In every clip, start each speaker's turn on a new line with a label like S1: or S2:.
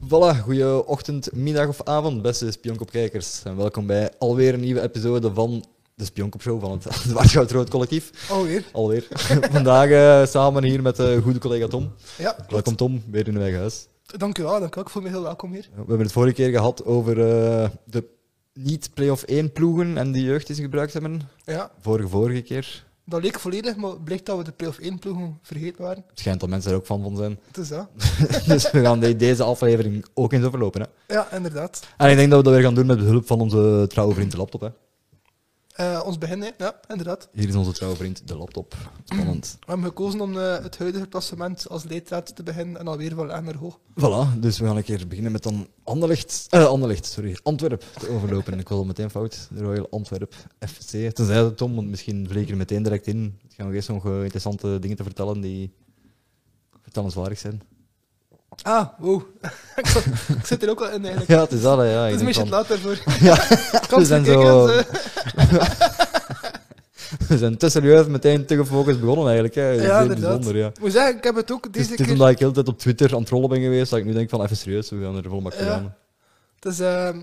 S1: Voilà, goeie ochtend, middag of avond, beste Spionkopkijkers. En welkom bij alweer een nieuwe episode van de Spionkopshow van het Zwartgoud-Rood Collectief.
S2: Alweer.
S1: Alweer. Vandaag eh, samen hier met eh goede collega Tom.
S2: Ja, klopt.
S1: Welkom Tom, weer in uw eigen huis.
S2: Dank u wel, dank u wel. Ik voel me heel welkom hier.
S1: We hebben het vorige keer gehad over eh, de niet-playoff 1 ploegen en die jeugd die ze gebruikt hebben.
S2: Ja,
S1: Vorige, vorige keer.
S2: dat leek volledig, maar blijkt dat we de play-off 1 ploegen vergeten waren.
S1: Het schijnt dat mensen er ook fan van zijn.
S2: Het is dat.
S1: dus we gaan de- deze aflevering ook eens overlopen. Hè.
S2: Ja, inderdaad.
S1: En ik denk dat we dat weer gaan doen met behulp van onze trouwe vriend de laptop. Hè.
S2: Eh, ons begin, hè. ja, inderdaad.
S1: Hier is onze trouwe vriend de laptop. Spannend.
S2: We hebben gekozen om eh, het huidige klassement als leidraad te beginnen en alweer van laag naar hoog.
S1: Voilà, dus we gaan een keer beginnen met dan Anderlecht, eh, Anderlecht, sorry, Antwerp te overlopen. Ik was al meteen fout, de Royal Antwerp FC. Tenzij dat Tom, want misschien vlieg ik er meteen direct in. Het gaan nog eerst nog eh, interessante dingen te vertellen die vertellenswaardig zijn.
S2: Ah, wow. ik, zat- ik zit er ook al in eigenlijk.
S1: Ja, het is dat, hè, ja.
S2: het
S1: ik
S2: is een
S1: denk
S2: beetje
S1: van-
S2: laat daarvoor.
S1: Ja,
S2: Kans
S1: zijn
S2: gekeken,
S1: zo-
S2: dus, eh,
S1: we zijn te serieus meteen te gefocust begonnen eigenlijk. Hè. Dat is
S2: Ja,
S1: heel
S2: inderdaad.
S1: bijzonder, ja.
S2: ik moet zeggen, ik heb het ook
S1: Het is,
S2: deze
S1: het is
S2: keer...
S1: omdat ik heel de tijd op Twitter aan het trollen ben geweest, dat ik nu denk van even serieus, we gaan er volmak voor
S2: Ja.
S1: gaan.
S2: Het is, ehm,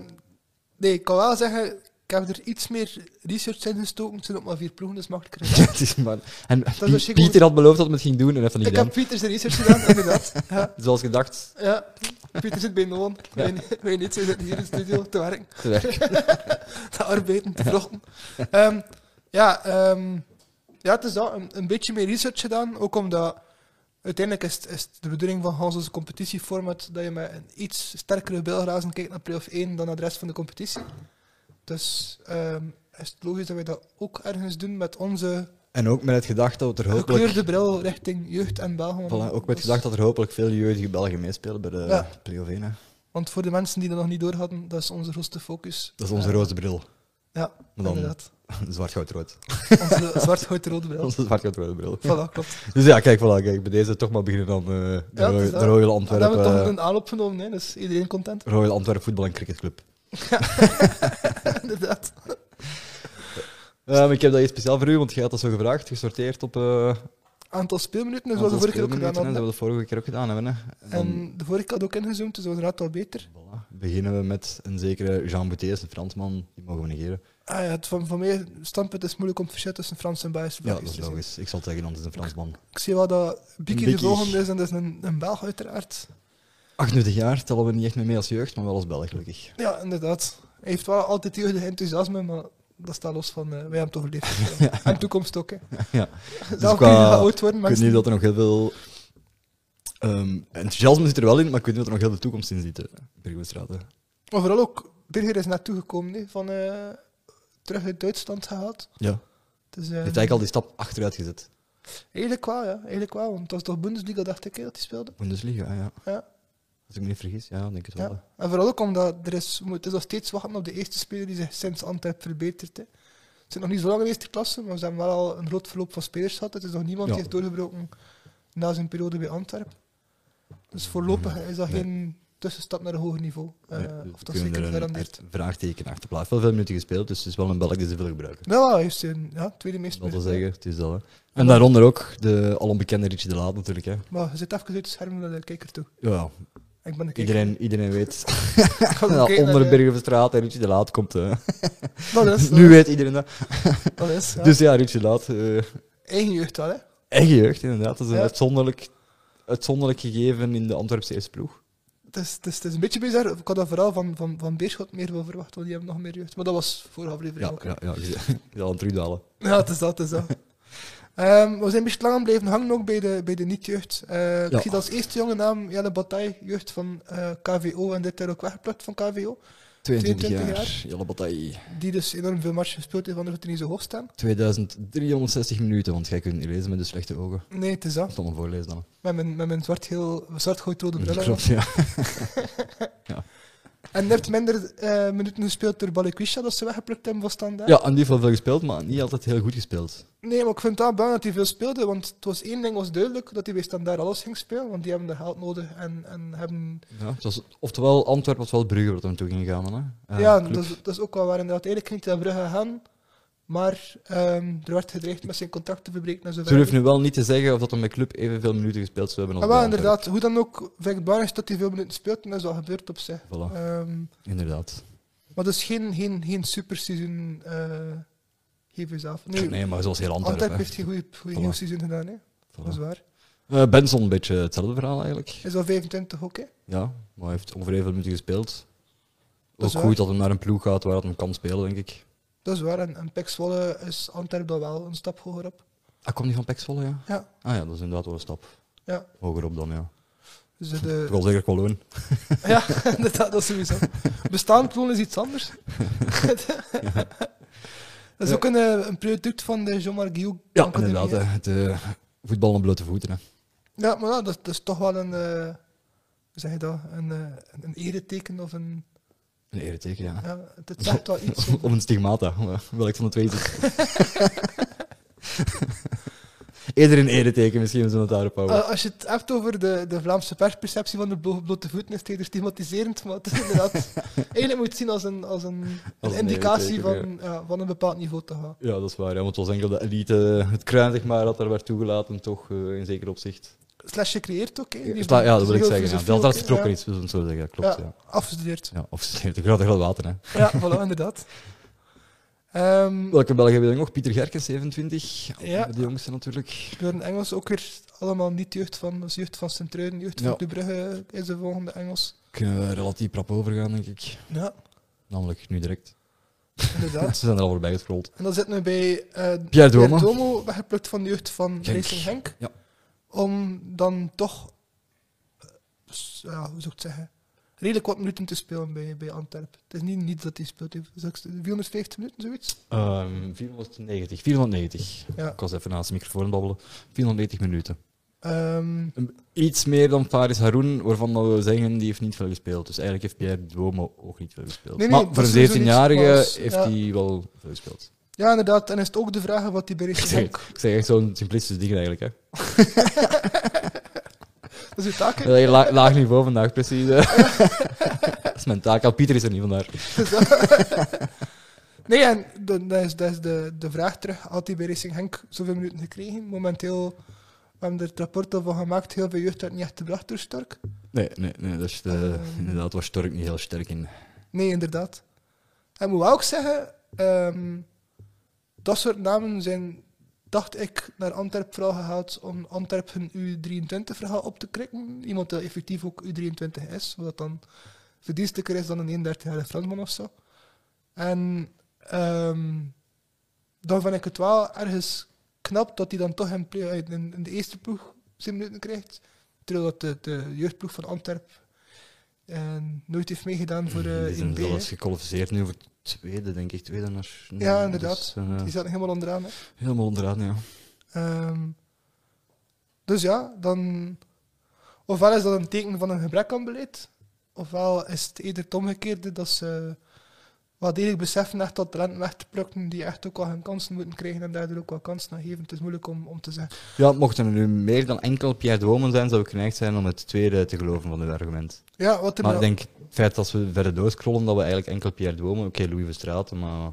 S2: nee, ik kan wel zeggen, ik heb er iets meer research in gestoken. Het zijn ook maar vier ploegen, dus makkelijker.
S1: Het is maar... En Pie-
S2: misschien goed.
S1: Pieter had beloofd dat we het ging doen en heeft dat niet
S2: Ik heb
S1: gedaan.
S2: Pieters de research gedaan, inderdaad. Ja,
S1: Zoals gedacht,
S2: ja. Pieter zit bij Noon. Wij wij niet, ze zitten hier in de studio te werken,
S1: te werk.
S2: te arbeiden, te vlochten. Ehm, ja, ehm, ja, het is dat. Een, een beetje meer research gedaan, ook omdat uiteindelijk is, het- is het de bedoeling van Hans' onze competitieformat dat je met een iets sterkere belgrazen kijkt naar play-off 1 dan naar de rest van de competitie. Dus ehm, is het logisch dat wij dat ook ergens doen met onze
S1: En ook met het gedacht dat er hopelijk...
S2: gekleurde bril richting jeugd en België.
S1: Voilà, ook met het
S2: Dus-
S1: gedacht dat er hopelijk veel jeugdige Belgen meespelen bij de
S2: Ja.
S1: play-off 1. hè.
S2: Want voor de mensen die dat nog niet door hadden, dat is onze grootste focus.
S1: Dat is onze
S2: Ja.
S1: roze bril.
S2: Ja,
S1: dan-
S2: inderdaad.
S1: Zwart-goud-rood.
S2: Onze zwart-goud-rode bril.
S1: Onze zwart-goud-rode bril.
S2: Voilà, klopt.
S1: Dus ja, kijk, voilà, kijk, bij deze toch maar beginnen dan eh, de,
S2: Ja, het
S1: Roy-
S2: is
S1: de
S2: dat.
S1: Royal
S2: Dan hebben
S1: Antwerpen...
S2: we toch een aanloop genomen, hè? dus iedereen content.
S1: Royal Antwerp Voetbal en Cricketclub.
S2: inderdaad.
S1: Ehm, ik heb dat iets speciaal voor u, want jij had dat zo gevraagd, gesorteerd op... eh
S2: Aantal speelminuten, dus
S1: aantal
S2: wat we vorige keer ook
S1: speelminuten,
S2: gedaan
S1: hè,
S2: hadden.
S1: Dat we de vorige keer ook gedaan hebben. Hè. En dan-
S2: En de vorige keer had ook ingezoomd, dus dat was inderdaad wel beter.
S1: Voilà. Beginnen we met een zekere Jean Boutees, een Fransman, die mogen we negeren.
S2: Ah, ja, het, van, van mijn standpunt is het moeilijk om het verschil tussen Frans en Belgisch
S1: Ja,
S2: Belgisch
S1: dat is
S2: te zien.
S1: logisch. Ik zal zeggen, dat is een Fransman.
S2: Ik zie wel dat Biki
S1: Biki.
S2: de volgende is en dat is een, een Belg uiteraard.
S1: 28 jaar tellen we niet echt meer mee als jeugd, maar wel als Belg, gelukkig.
S2: Ja, inderdaad. Hij heeft wel altijd jeugdig enthousiasme, maar dat staat los van eh, wij hebben toch geleefd. En toekomst ook, hè.
S1: Ja. Dus
S2: Zelf
S1: qua-
S2: kun je wel oud
S1: Ik weet
S2: worden, mensen.
S1: niet dat er nog heel veel... ehm, enthousiasme zit er wel in, maar ik weet niet dat er nog heel veel toekomst in zit. eh, Bergwedstraten.
S2: Maar vooral ook, Birger is naartoe gekomen, hè, van eh, terug uit Duitsland gehaald.
S1: Ja.
S2: Dus,
S1: Hij
S2: eh,
S1: heeft eigenlijk al die stap achteruit gezet.
S2: eigenlijk wel, ja. Eigenlijk wel, want het was toch Bundesliga, dacht ik, hè, dat hij speelde.
S1: Bundesliga, ja.
S2: Ja.
S1: Als ik me niet vergis, ja, denk ik het wel.
S2: ja. En vooral ook omdat er is, we moeten- het is nog steeds wachten op de eerste speler die zich sinds Antwerp verbetert. Hè. Het zijn nog niet zo lang in de eerste klasse, maar ze hebben wel al een groot verloop van spelers gehad. Het is nog niemand
S1: Ja.
S2: die heeft doorgebroken na zijn periode bij Antwerp. Dus voorlopig is dat
S1: Mm, Nee.
S2: geen tussenstap naar een hoger niveau. Eh,
S1: Ja, dus
S2: of
S1: we
S2: dat
S1: kunnen
S2: zeker
S1: er een
S2: gegarandeerd.
S1: echt vraagteken achter plaatsen. Wel veel minuten gespeeld, dus het is wel een Belg die ze veel gebruiken.
S2: Nou, hij heeft zijn ja, tweede meest
S1: Dat wil
S2: minuten.
S1: zeggen, het is dat. Hè. En daaronder ook de al onbekende Richie de Laat natuurlijk. Hè.
S2: Maar je zit even uit het scherm naar de kijker toe.
S1: Ja,
S2: Ik ben de kijker.
S1: iedereen, iedereen weet.
S2: Ik ga
S1: dat
S2: kijken
S1: onder
S2: naar de-
S1: Bergenverstraat en Richie de Laat komt. hè.
S2: Dat is,
S1: nu weet iedereen dat.
S2: dat is, ja.
S1: Dus ja, Richie de Laat. eh,
S2: Eigen jeugd wel, hè.
S1: eigen jeugd inderdaad. Dat is een
S2: Ja.
S1: uitzonderlijk, uitzonderlijk gegeven in de Antwerpse eerste ploeg.
S2: Het is, het, is, het is een beetje bizar. Ik had dat vooral van, van, van Beerschot meer van verwacht, want die hebben nog meer jeugd. Maar dat was vorige aflevering
S1: Ja,
S2: ook.
S1: ja, ja. Ik zal hem terugdalen.
S2: Ja, het is dat, het is dat. Ehm, we zijn een beetje lang blijven hangen ook bij de, bij de niet-jeugd. Eh,
S1: Ja.
S2: Ik zie dat als eerste jonge naam Jelle Bataille, jeugd van eh, KVO en dit jaar ook weggeplakt van KVO.
S1: 22
S2: 22
S1: jaar, Jelle Bataille.
S2: Die dus enorm veel matchen gespeeld heeft, anders gaat hij niet zo hoog staan.
S1: 2360 minuten, want jij kunt niet lezen met de slechte ogen.
S2: Nee, het is dat.
S1: Ik zal hem voorlezen dan.
S2: Met mijn, met mijn zwart-heel, zwart-goud-rode bril. aan.
S1: Klopt, ja.
S2: En net minder eh, minuten gespeeld door Balikwisha dat ze weggeplukt hebben van standaard.
S1: Ja, en die heeft wel veel gespeeld, maar niet altijd heel goed gespeeld.
S2: Nee, maar ik vind het wel belangrijk dat hij veel speelde, want het was één ding was duidelijk, dat hij bij standaard alles ging spelen, want die hebben er geld nodig en, en hebben...
S1: Ja, het was, oftewel, Antwerpen was wel Brugge wat er naartoe ging gaan. Hè? Eh,
S2: ja,
S1: club.
S2: dat is, dat is ook wel waar inderdaad. Eigenlijk ging hij naar Brugge gaan, Maar ehm, er werd gedreigd met zijn contract te verbreken en zo
S1: Ze
S2: verder.
S1: durft Dus nu wel niet te zeggen of dat hij met club evenveel minuten gespeeld zou hebben
S2: Ah,
S1: als
S2: wel,
S1: bij Antwerp.
S2: inderdaad. Hoe dan ook, vind ik het belangrijk dat hij veel minuten speelt en dat is al gebeurd op zich.
S1: Voilà,
S2: Ehm,
S1: inderdaad.
S2: maar dat is geen, geen, geen superseizoen. eh geef jezelf. Nee,
S1: Nee, maar zoals heel Antwerp.
S2: Antwerp
S1: hè.
S2: heeft geen goede
S1: Voilà.
S2: nieuw seizoen gedaan, hè? dat is
S1: Voilà.
S2: waar.
S1: Eh, Benson, een beetje hetzelfde verhaal eigenlijk.
S2: Is al 25 ook, hè?
S1: Ja, maar hij heeft ongeveer evenveel minuten gespeeld.
S2: Dat
S1: Ook
S2: is waar.
S1: goed dat hij naar een ploeg gaat waar dat hem kan spelen, denk ik.
S2: Dat is waar. En, en Pek Zwolle is Antwerp dan wel een stap hoger op.
S1: Hij Ah, komt niet van Pek Zwolle, ja?
S2: Ja.
S1: Ah ja, dat is inderdaad wel een stap
S2: Ja,
S1: hoger op dan, ja.
S2: dus de,
S1: Ik wil zeker Cologne.
S2: ja inderdaad, dat is sowieso. Bestaand kloon is iets anders. dat is ook een, eh, een product van de Jean-Marc Guillaume.
S1: Ja,
S2: Academie,
S1: inderdaad.
S2: hè.
S1: hè. Het eh, voetbal aan blote voeten. Hè.
S2: Ja, maar ja, dat, dat is toch wel een, eh, hoe zeg je dat, een, eh, een- een ereteken of een,
S1: Een ereteken, ja.
S2: ja, het- het zegt wel iets.
S1: Of een stigmata, maar welk van de twee is het? Eerder een ereteken, misschien we zullen het daarop houden.
S2: Eh, als je het hebt over de, de Vlaamse persperceptie van de blo- blote voeten, is het eerder stigmatiserend, maar het is inderdaad... eigenlijk moet je het zien als een, als een,
S1: Als
S2: een
S1: een
S2: indicatie van,
S1: ereteken,
S2: ja, van een bepaald niveau te gaan.
S1: Ja, dat is waar. Ja, want het was enkel de elite, het kruin zeg maar, dat er werd toegelaten, toch eh, in zeker opzicht.
S2: Slash gecreëerd ook, hè? Die-
S1: Ja, ja, dat wil ik
S2: heel
S1: zeggen. Ja.
S2: filosofie
S1: Dat,
S2: ook,
S1: dat
S2: hè.
S1: is trokken iets, we zullen het zo zeggen. Ja, klopt, ja.
S2: Ja, afgestudeerd.
S1: ja. Of ze de graad heel water, hè.
S2: Ja, voilà, inderdaad. Ehm,
S1: Welke Belgen hebben we nog? Pieter Gerkens, 27.
S2: Ja.
S1: Ja. De jongste natuurlijk.
S2: We hebben Engels ook weer allemaal niet jeugd van, dus jeugd van Sint-Truiden, jeugd van
S1: Ja.
S2: Club Brugge is de volgende Engels.
S1: Kunnen we relatief rap overgaan, denk ik.
S2: Ja,
S1: Namelijk nu direct.
S2: inderdaad.
S1: Ze zijn er al voorbij gescrolld.
S2: En dan zitten we bij eh
S1: Pierre Domo.
S2: Pierre Domo, weggeplukt van de jeugd van
S1: Genk.
S2: Racing Henk.
S1: Ja.
S2: Om dan toch, eh, s- ja, hoe zou ik het zeggen, redelijk wat minuten te spelen bij, bij Antwerpen. Het is niet, niet dat hij speelt, hij heeft 450 minuten, zoiets.
S1: Ehm 490. 490.
S2: Ja.
S1: Ik was even naast de microfoon babbelen. 490 minuten.
S2: Ehm,
S1: Iets meer dan Faris Haroun, waarvan dat we zeggen die heeft niet veel gespeeld. Dus eigenlijk heeft Pierre Duomo ook niet veel gespeeld.
S2: Nee, nee,
S1: maar
S2: dat
S1: voor
S2: is
S1: een
S2: sowieso niet,
S1: 17-jarige
S2: maar als-
S1: heeft
S2: ja.
S1: hij wel veel gespeeld.
S2: ja, inderdaad. En is het ook de vraag wat hij bij Racing
S1: Zeg.
S2: Henk...
S1: Ik zeg echt zo'n simplistisch ding eigenlijk. Hè.
S2: Dat is uw taak, hè?
S1: Heel erg la- laag niveau vandaag, precies. hè. dat is mijn taak. Al Pieter is er niet vandaag.
S2: Nee, en dan- dat is, dat is de, de vraag terug. Had hij bij Racing Henk zoveel minuten gekregen? Momenteel, we hebben er het rapport al van gemaakt, heel veel jeugd werd niet echt gebracht door Stork.
S1: Nee, nee, nee dat is de,
S2: Ehm.
S1: inderdaad was Stork niet heel sterk in.
S2: Nee, inderdaad. En moet wel ook zeggen, ehm, dat soort namen zijn, dacht ik, naar Antwerp vooral gehaald om Antwerp hun U23-verhaal op te krikken. Iemand die effectief ook U23 is, wat dan verdienstelijker is dan een 31-jarige Fransman of zo. En ehm, dan vind ik het wel ergens knap dat hij dan toch in, play- in, in de eerste ploeg zijn minuten krijgt. Terwijl dat de, de jeugdploeg van Antwerp eh, nooit heeft meegedaan voor
S1: Mm-hmm, die
S2: eh
S1: zijn
S2: 1B. hè.
S1: zelfs gekwalificeerd nu voor het tweede, denk ik. Tweede naar,
S2: Ja, inderdaad.
S1: dus, eh,
S2: Die zaten helemaal onderaan. Hè.
S1: helemaal onderaan, ja.
S2: Ehm, dus ja, dan. Ofwel is dat een teken van een gebrek aan beleid, ofwel is het eerder het omgekeerde dat ze wat degelijk beseffen echt dat talent weg te plukken die echt ook wel hun kansen moeten krijgen en daardoor ook wel kansen aan geven. Het is moeilijk om, om te zeggen.
S1: Ja, mochten er nu meer dan enkel Pierre Domen zijn, zou ik geneigd zijn om het tweede te geloven van dit argument.
S2: Ja, wat er
S1: Maar ik
S2: nou-
S1: denk, het feit dat we verder doorscrollen, dat we eigenlijk enkel Pierre Domen, oké, Louis Verstraeten, maar...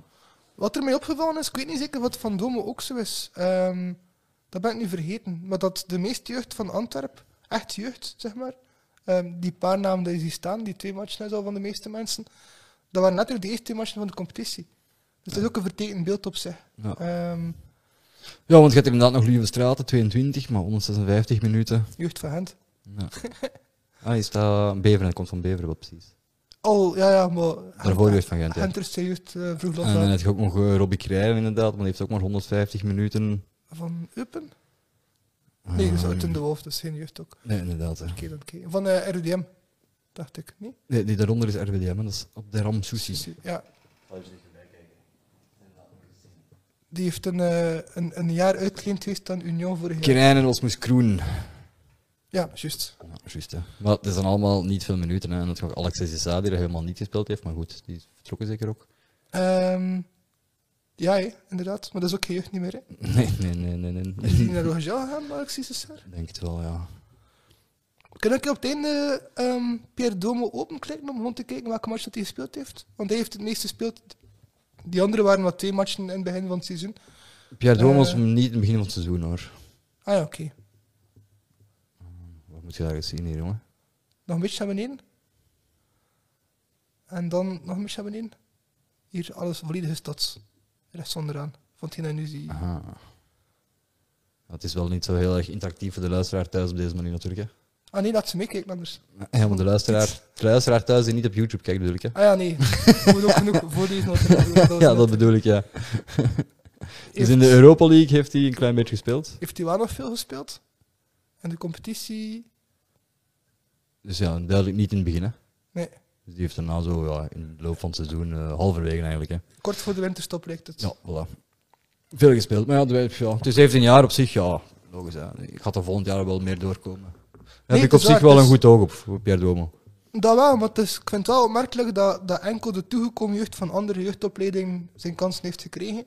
S2: Wat er mij opgevallen is, ik weet niet zeker wat Van Domo ook zo is. Ehm, dat ben ik nu vergeten. Maar dat de meeste jeugd van Antwerp, echt jeugd, zeg maar, ehm, die paar namen die hier staan, die twee matchen en zo van de meeste mensen, dat waren net ook de eerste twee matchen van de competitie. Dus dat is ook een vertekend beeld op zich.
S1: Ja,
S2: Ehm,
S1: ja want je hebt inderdaad nog Louis Verstraeten, 22, maar 156 minuten.
S2: jeugd van Gent.
S1: Ja. ah, hij staat... Beveren, hij komt van Beveren, wel precies.
S2: Oh, ja, ja, maar... eh,
S1: Daarvoor jeugd van Gent, ja.
S2: Gent is de jeugd eh, vroeg
S1: En dan
S2: loslaten.
S1: heb je ook nog eh, Robbie Krijer, inderdaad, maar die heeft ook maar 150 minuten.
S2: Van Eupen?
S1: Ah,
S2: Nee, dat is uit in de Wolf, dat is geen jeugd ook.
S1: Nee, inderdaad. hè.
S2: Oké, dan oké. Van eh, RDM, dacht ik. Nee?
S1: Nee, die daaronder is RWDM, hè, dat is op de Ram Sushi.
S2: Ja. Die heeft een, eh, een, een jaar uitgeleend geweest aan Union vorig jaar.
S1: Kerijn en Osmus Kroen.
S2: Ja, juist.
S1: Ja, juist, hè. Maar het zijn allemaal niet veel minuten. Hè. En dat is ook Alex Issa die er helemaal niet gespeeld heeft. Maar goed, die is vertrokken zeker ook.
S2: Ehm, ja, hè, inderdaad. Maar dat is ook geen jeugd niet meer. Hè.
S1: Nee, nee, nee, nee. nee.
S2: Is die naar Rogel gegaan, Alexis Cesar?
S1: Ik Denk het wel, ja.
S2: Kan ik op het einde ehm Pierre Domo openklikken om gewoon te kijken welke match dat hij gespeeld heeft? Want hij heeft het meeste gespeeld Die andere waren wat twee matchen in het begin van het seizoen.
S1: Pierre Doom was
S2: Eh.
S1: niet in het begin van het seizoen hoor.
S2: Ah ja, oké.
S1: Wat moet je daar eens zien hier, jongen?
S2: Nog een beetje naar beneden. En dan nog een beetje naar beneden. Hier, alles volledige stads. Rechts onderaan. Van Tina nu zie je.
S1: Aha. Ja, Het is wel niet zo heel erg interactief voor de luisteraar thuis op deze manier natuurlijk. Hè.
S2: Ah nee, laat ze meekijken anders.
S1: Ja, want de luisteraar, de luisteraar thuis die niet op YouTube kijkt bedoel ik. Hè.
S2: Ah ja, nee. Ik moet ook genoeg voorlezen. wat er gebeurt.
S1: Ja, Ah, dat bedoel ik, ja. Dus
S2: Heeft-
S1: in de Europa League heeft hij een klein beetje gespeeld.
S2: Heeft hij wel nog veel gespeeld? En de competitie?
S1: Dus ja, duidelijk niet in het begin. Hè.
S2: Nee.
S1: Dus die heeft daarna zo ja, in de loop van het seizoen eh, halverwege eigenlijk. Hè.
S2: Kort voor de winterstop lijkt het.
S1: Ja, voilà. Veel gespeeld, maar ja, de- ja, het is 17 jaar op zich, ja, logisch. Hè. Ik ga er volgend jaar wel meer doorkomen.
S2: Nee,
S1: heb ik
S2: het
S1: op
S2: is
S1: zich
S2: waar,
S1: wel
S2: het
S1: een
S2: is-
S1: goed oog op, voor Pierre Domo.
S2: Dat wel, maar het is, ik vind het wel opmerkelijk dat, dat enkel de toegekomen jeugd van andere jeugdopleidingen zijn kansen heeft gekregen.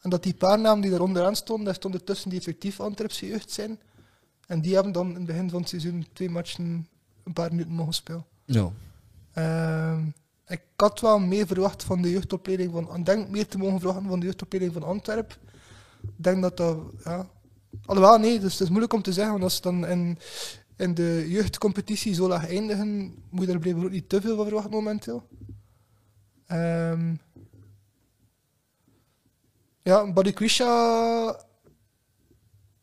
S2: En dat die paar namen die daar onderaan stonden, daar stonden tussen die effectief Antwerpse jeugd zijn. En die hebben dan in het begin van het seizoen twee matchen een paar minuten mogen spelen.
S1: Ja.
S2: Ehm, ik had wel meer verwacht van de jeugdopleiding van... Ik denk meer te mogen verwachten van de jeugdopleiding van Antwerp. Ik denk dat dat... Ja. Alhoewel, nee, dus het is moeilijk om te zeggen. Want als ze dan in, in de jeugdcompetitie zo laag eindigen, moet je daar blijkbaar ook niet te veel van verwachten momenteel. Ehm ja, Badikwisha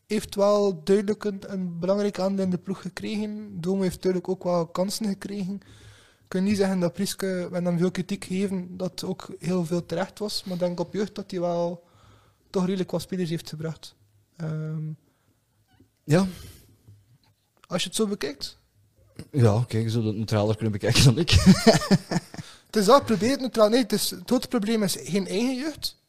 S2: heeft wel duidelijk een, een belangrijk aandeel in de ploeg gekregen. Domo heeft duidelijk ook wel kansen gekregen. Ik kan niet zeggen dat Priske, we hebben hem veel kritiek gegeven, dat ook heel veel terecht was. Maar ik denk op jeugd dat hij wel toch redelijk wat spelers heeft gebracht. Ehm,
S1: Ja,
S2: als je het zo bekijkt.
S1: ja oké, je zou dat neutraler kunnen bekijken dan ik.
S2: Het is wel, probeer het neutraal. Nee, het, is, het grote probleem is geen eigen jeugd.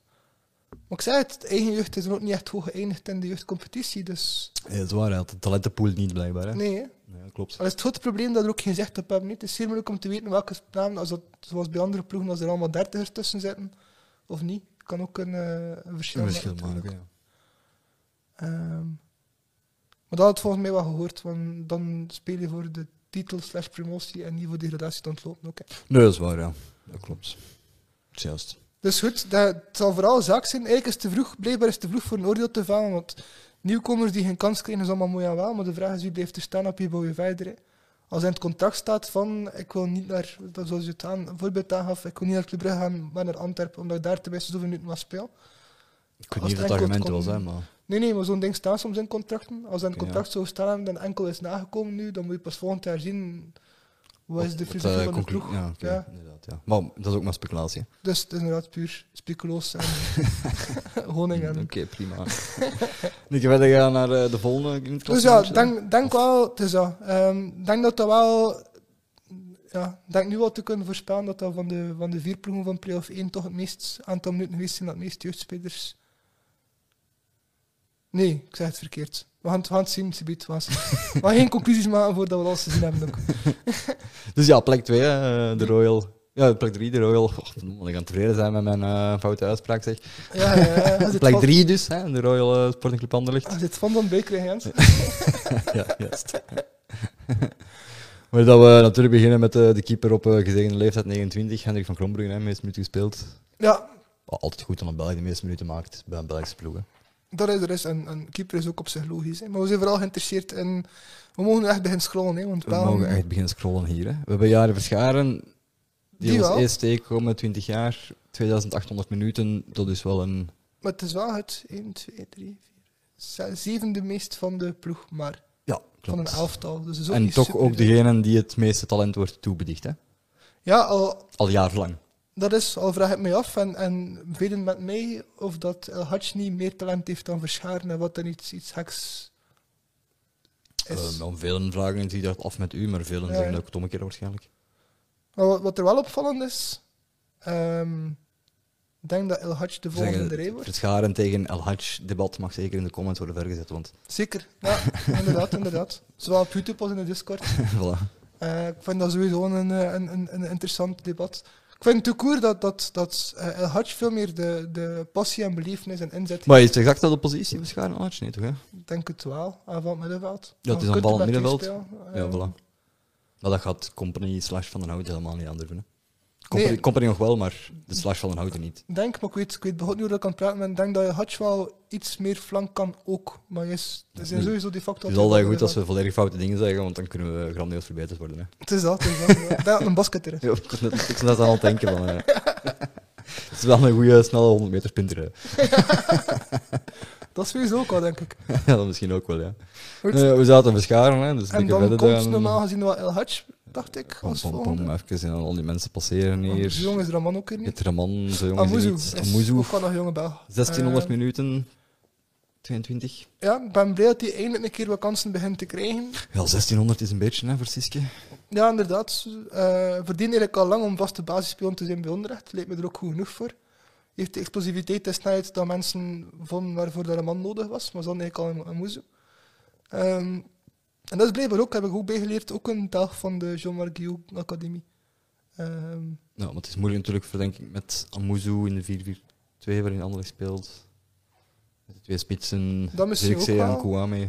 S2: Maar ik zei het, de eigen jeugd is er ook niet echt hoog geëindigd in de jeugdcompetitie. Dus
S1: Ja, dat is waar, hij had de talentenpool niet blijkbaar. Hè.
S2: nee, hè.
S1: Ja, klopt.
S2: Al is het grote probleem dat er ook geen zicht op hebben. niet. Het is zeer moeilijk om te weten welke namen, als dat, zoals bij andere ploegen, als er allemaal dertigers tussen zitten of niet. kan ook een, eh, een verschil
S1: Een
S2: maken,
S1: verschil
S2: natuurlijk.
S1: maken, ja.
S2: Ehm, maar dat had het volgens mij wel gehoord, want dan speel je voor de titel slash promotie en niet voor degradatie te ontlopen. ook, hè.
S1: Nee, dat is waar, ja. Dat klopt. Dat is juist.
S2: Dus goed, dat, het zal vooral een zaak zijn. Eigenlijk is het te vroeg, blijkbaar is het te vroeg voor een oordeel te vellen, want nieuwkomers die geen kans krijgen is allemaal mooi en wel, maar de vraag is wie blijft er staan op je bouw je verder. hè. Als in het contract staat van, ik wil niet naar, dat zoals je het aan, een voorbeeld aangaf, ik wil niet naar Club Brugge gaan, maar naar Antwerpen, omdat ik daar tenminste zoveel minuten mag spelen.
S1: Ik weet
S2: Als
S1: niet
S2: het
S1: wat het argument
S2: enkel kon-
S1: was, hè, maar...
S2: Nee, nee, maar zo'n ding staat soms in contracten. Als dat in
S1: Ja.
S2: contract zou staan en enkel is nagekomen nu, dan moet je pas volgend jaar zien wat is de
S1: wat, eh,
S2: filosofie van de
S1: conclu-
S2: ploeg.
S1: Ja, oké,
S2: Ja.
S1: inderdaad, ja. Maar dat is ook maar speculatie. hè.
S2: Dus het is inderdaad puur speculoos en honing
S1: Hm, Oké,
S2: en...
S1: prima. Ik verder gaan naar eh, de volgende. in het
S2: Dus ja,
S1: klassementje.
S2: denk, denk wel, het is dat. Ehm, denk dat dat wel... Ja, denk nu wel te kunnen voorspellen dat dat van de, van de vier ploegen van play-off 1 toch het meest aantal minuten geweest zijn dat het meest jeugdspelers... Nee, ik zeg het verkeerd. We gaan, het- we gaan het zien, Sibiet. We gaan het- we gaan geen conclusies maken voordat we alles gezien hebben. Ook.
S1: Dus ja, plek 2, de Royal. Ja, plek 3, de Royal. Och, verdomme, ik kan tevreden zijn met mijn eh, foute uitspraak, zeg.
S2: Ja, ja, ja. Als het
S1: Plek
S2: van-
S1: 3 dus, hè, de Royal eh, Sporting Club Anderlecht.
S2: als het van dan bij krijgen, Jens.
S1: ja, juist. maar dat we natuurlijk beginnen met eh, de keeper op eh, gezegende leeftijd, 29, Hendrik van Kronbrugge, hè, meest minuten gespeeld.
S2: Ja,
S1: Wel, Altijd goed dan een Belg de meeste minuten maakt bij een Belgische ploeg. hè.
S2: dat is er is. En, en keeper is ook op zich logisch. Hè. Maar we zijn vooral geïnteresseerd in... We mogen nu echt beginnen scrollen, hè, want
S1: We
S2: Belgium-
S1: mogen echt beginnen scrollen hier. Hè. We hebben jaren verscharen. Die,
S2: Die
S1: ons
S2: wel.
S1: eerst tegenkomen, 20 jaar, 2800 minuten. Dat is wel een.
S2: Maar het is wel het 1, 2, 3, 4, ze- zevende meest van de ploeg, maar
S1: Ja,
S2: van een
S1: klopt.
S2: elftal. Dus is ook
S1: En
S2: niet
S1: toch
S2: super
S1: ook
S2: veel.
S1: degene die het meeste talent wordt toebedicht, hè?
S2: Ja, al,
S1: al jarenlang.
S2: dat is, al vraag ik mij af, en, en velen met mij, of dat El Hachni meer talent heeft dan Verscharen en wat dan iets, iets heks is.
S1: Eh, dan velen vragen het zich dat af met u, maar velen
S2: Ja,
S1: zeggen
S2: ja.
S1: dat ook het omgekeerde waarschijnlijk.
S2: Maar wat, wat er wel opvallend is, ehm, ik denk dat El Hach de volgende in de rij wordt.
S1: Verscharen tegen El Hajj debat mag zeker in de comments worden vergezet, want
S2: Zeker, ja, inderdaad, inderdaad. Zowel op YouTube als in de Discord.
S1: voilà.
S2: Eh, ik vind dat sowieso een, eh, een, een, een interessant debat. Ik vind het koer dat, dat, dat eh, El Hadj veel meer de, de passie en belevenis en inzet
S1: Maar is het exact de positie Verscharen El Hajj? Nee, toch? Hè?
S2: heeft. Denk het wel, aanvallend middenveld. Ah,
S1: Ja, het is
S2: Je kunt
S1: aanvallend
S2: er met
S1: middenveld.
S2: twee spelen.
S1: Ja,
S2: Eh,
S1: voilà. Maar dat gaat Company slash Van den Hout helemaal niet aandurven. hè. Company,
S2: Nee.
S1: company nog wel, maar de slash van een houten niet.
S2: Denk, maar ik weet, ik weet behoorlijk niet hoe ik aan het praten ben. Ik denk dat je Hatch wel iets meer flank kan ook. Maar yes, er zijn
S1: Hmm.
S2: sowieso de facto...
S1: Het is altijd goed als we volledig foute dingen zeggen, want dan kunnen we grandioos verbeterd worden. Hè.
S2: Het is dat, het is dat. ja. Ik denk dat een basket er is.
S1: Ja, ik was net- ik was net aan het denken van... eh, het is wel een goede snelle 100 meter sprinter. hè.
S2: Dat is sowieso ook wel, denk ik.
S1: ja, dat misschien ook wel, ja.
S2: Goed.
S1: Eh, we zaten verscharen, hè. Dus
S2: En
S1: dikke
S2: dan
S1: verder
S2: komt
S1: dan-
S2: normaal gezien wel El Hatch, dacht ik.
S1: Pom,
S2: Als
S1: pom, pom,
S2: volgende.
S1: even en al die mensen passeren
S2: Want Zo
S1: hier.
S2: jong is Raman ook weer niet.
S1: Het Raman, zo jong is
S2: Amuzu.
S1: hij niet.
S2: is
S1: Amuzu,
S2: Ook wel nog jonge bel.
S1: 1600
S2: Oh, Eh,
S1: minuten. 22.
S2: Ja, ik ben blij dat hij eindelijk een keer wat kansen begint te krijgen.
S1: Ja, 1600 is een beetje, hè, voor Siske.
S2: Ja, inderdaad. eh verdient eigenlijk al lang om vaste basisspeler te zijn bij Onderrecht. Lijkt me er ook goed genoeg voor. Heeft de explosiviteit en snelheid dat mensen vonden waarvoor daar een man nodig was. Maar ze hadden eigenlijk al een, een moezo. Ehm, en dat is blijkbaar ook, heb ik ook bijgeleerd, ook een dag van de Jean-Marc Guillaume Academie. Ehm,
S1: Ja, maar Nou, het is moeilijk natuurlijk, voor, denk ik, met Amuzu in de 4-4-2 waarin Anderlecht speelt. Met de twee spitsen,
S2: Dat misschien
S1: Zirkzee
S2: ook
S1: en
S2: wel.
S1: Kouame.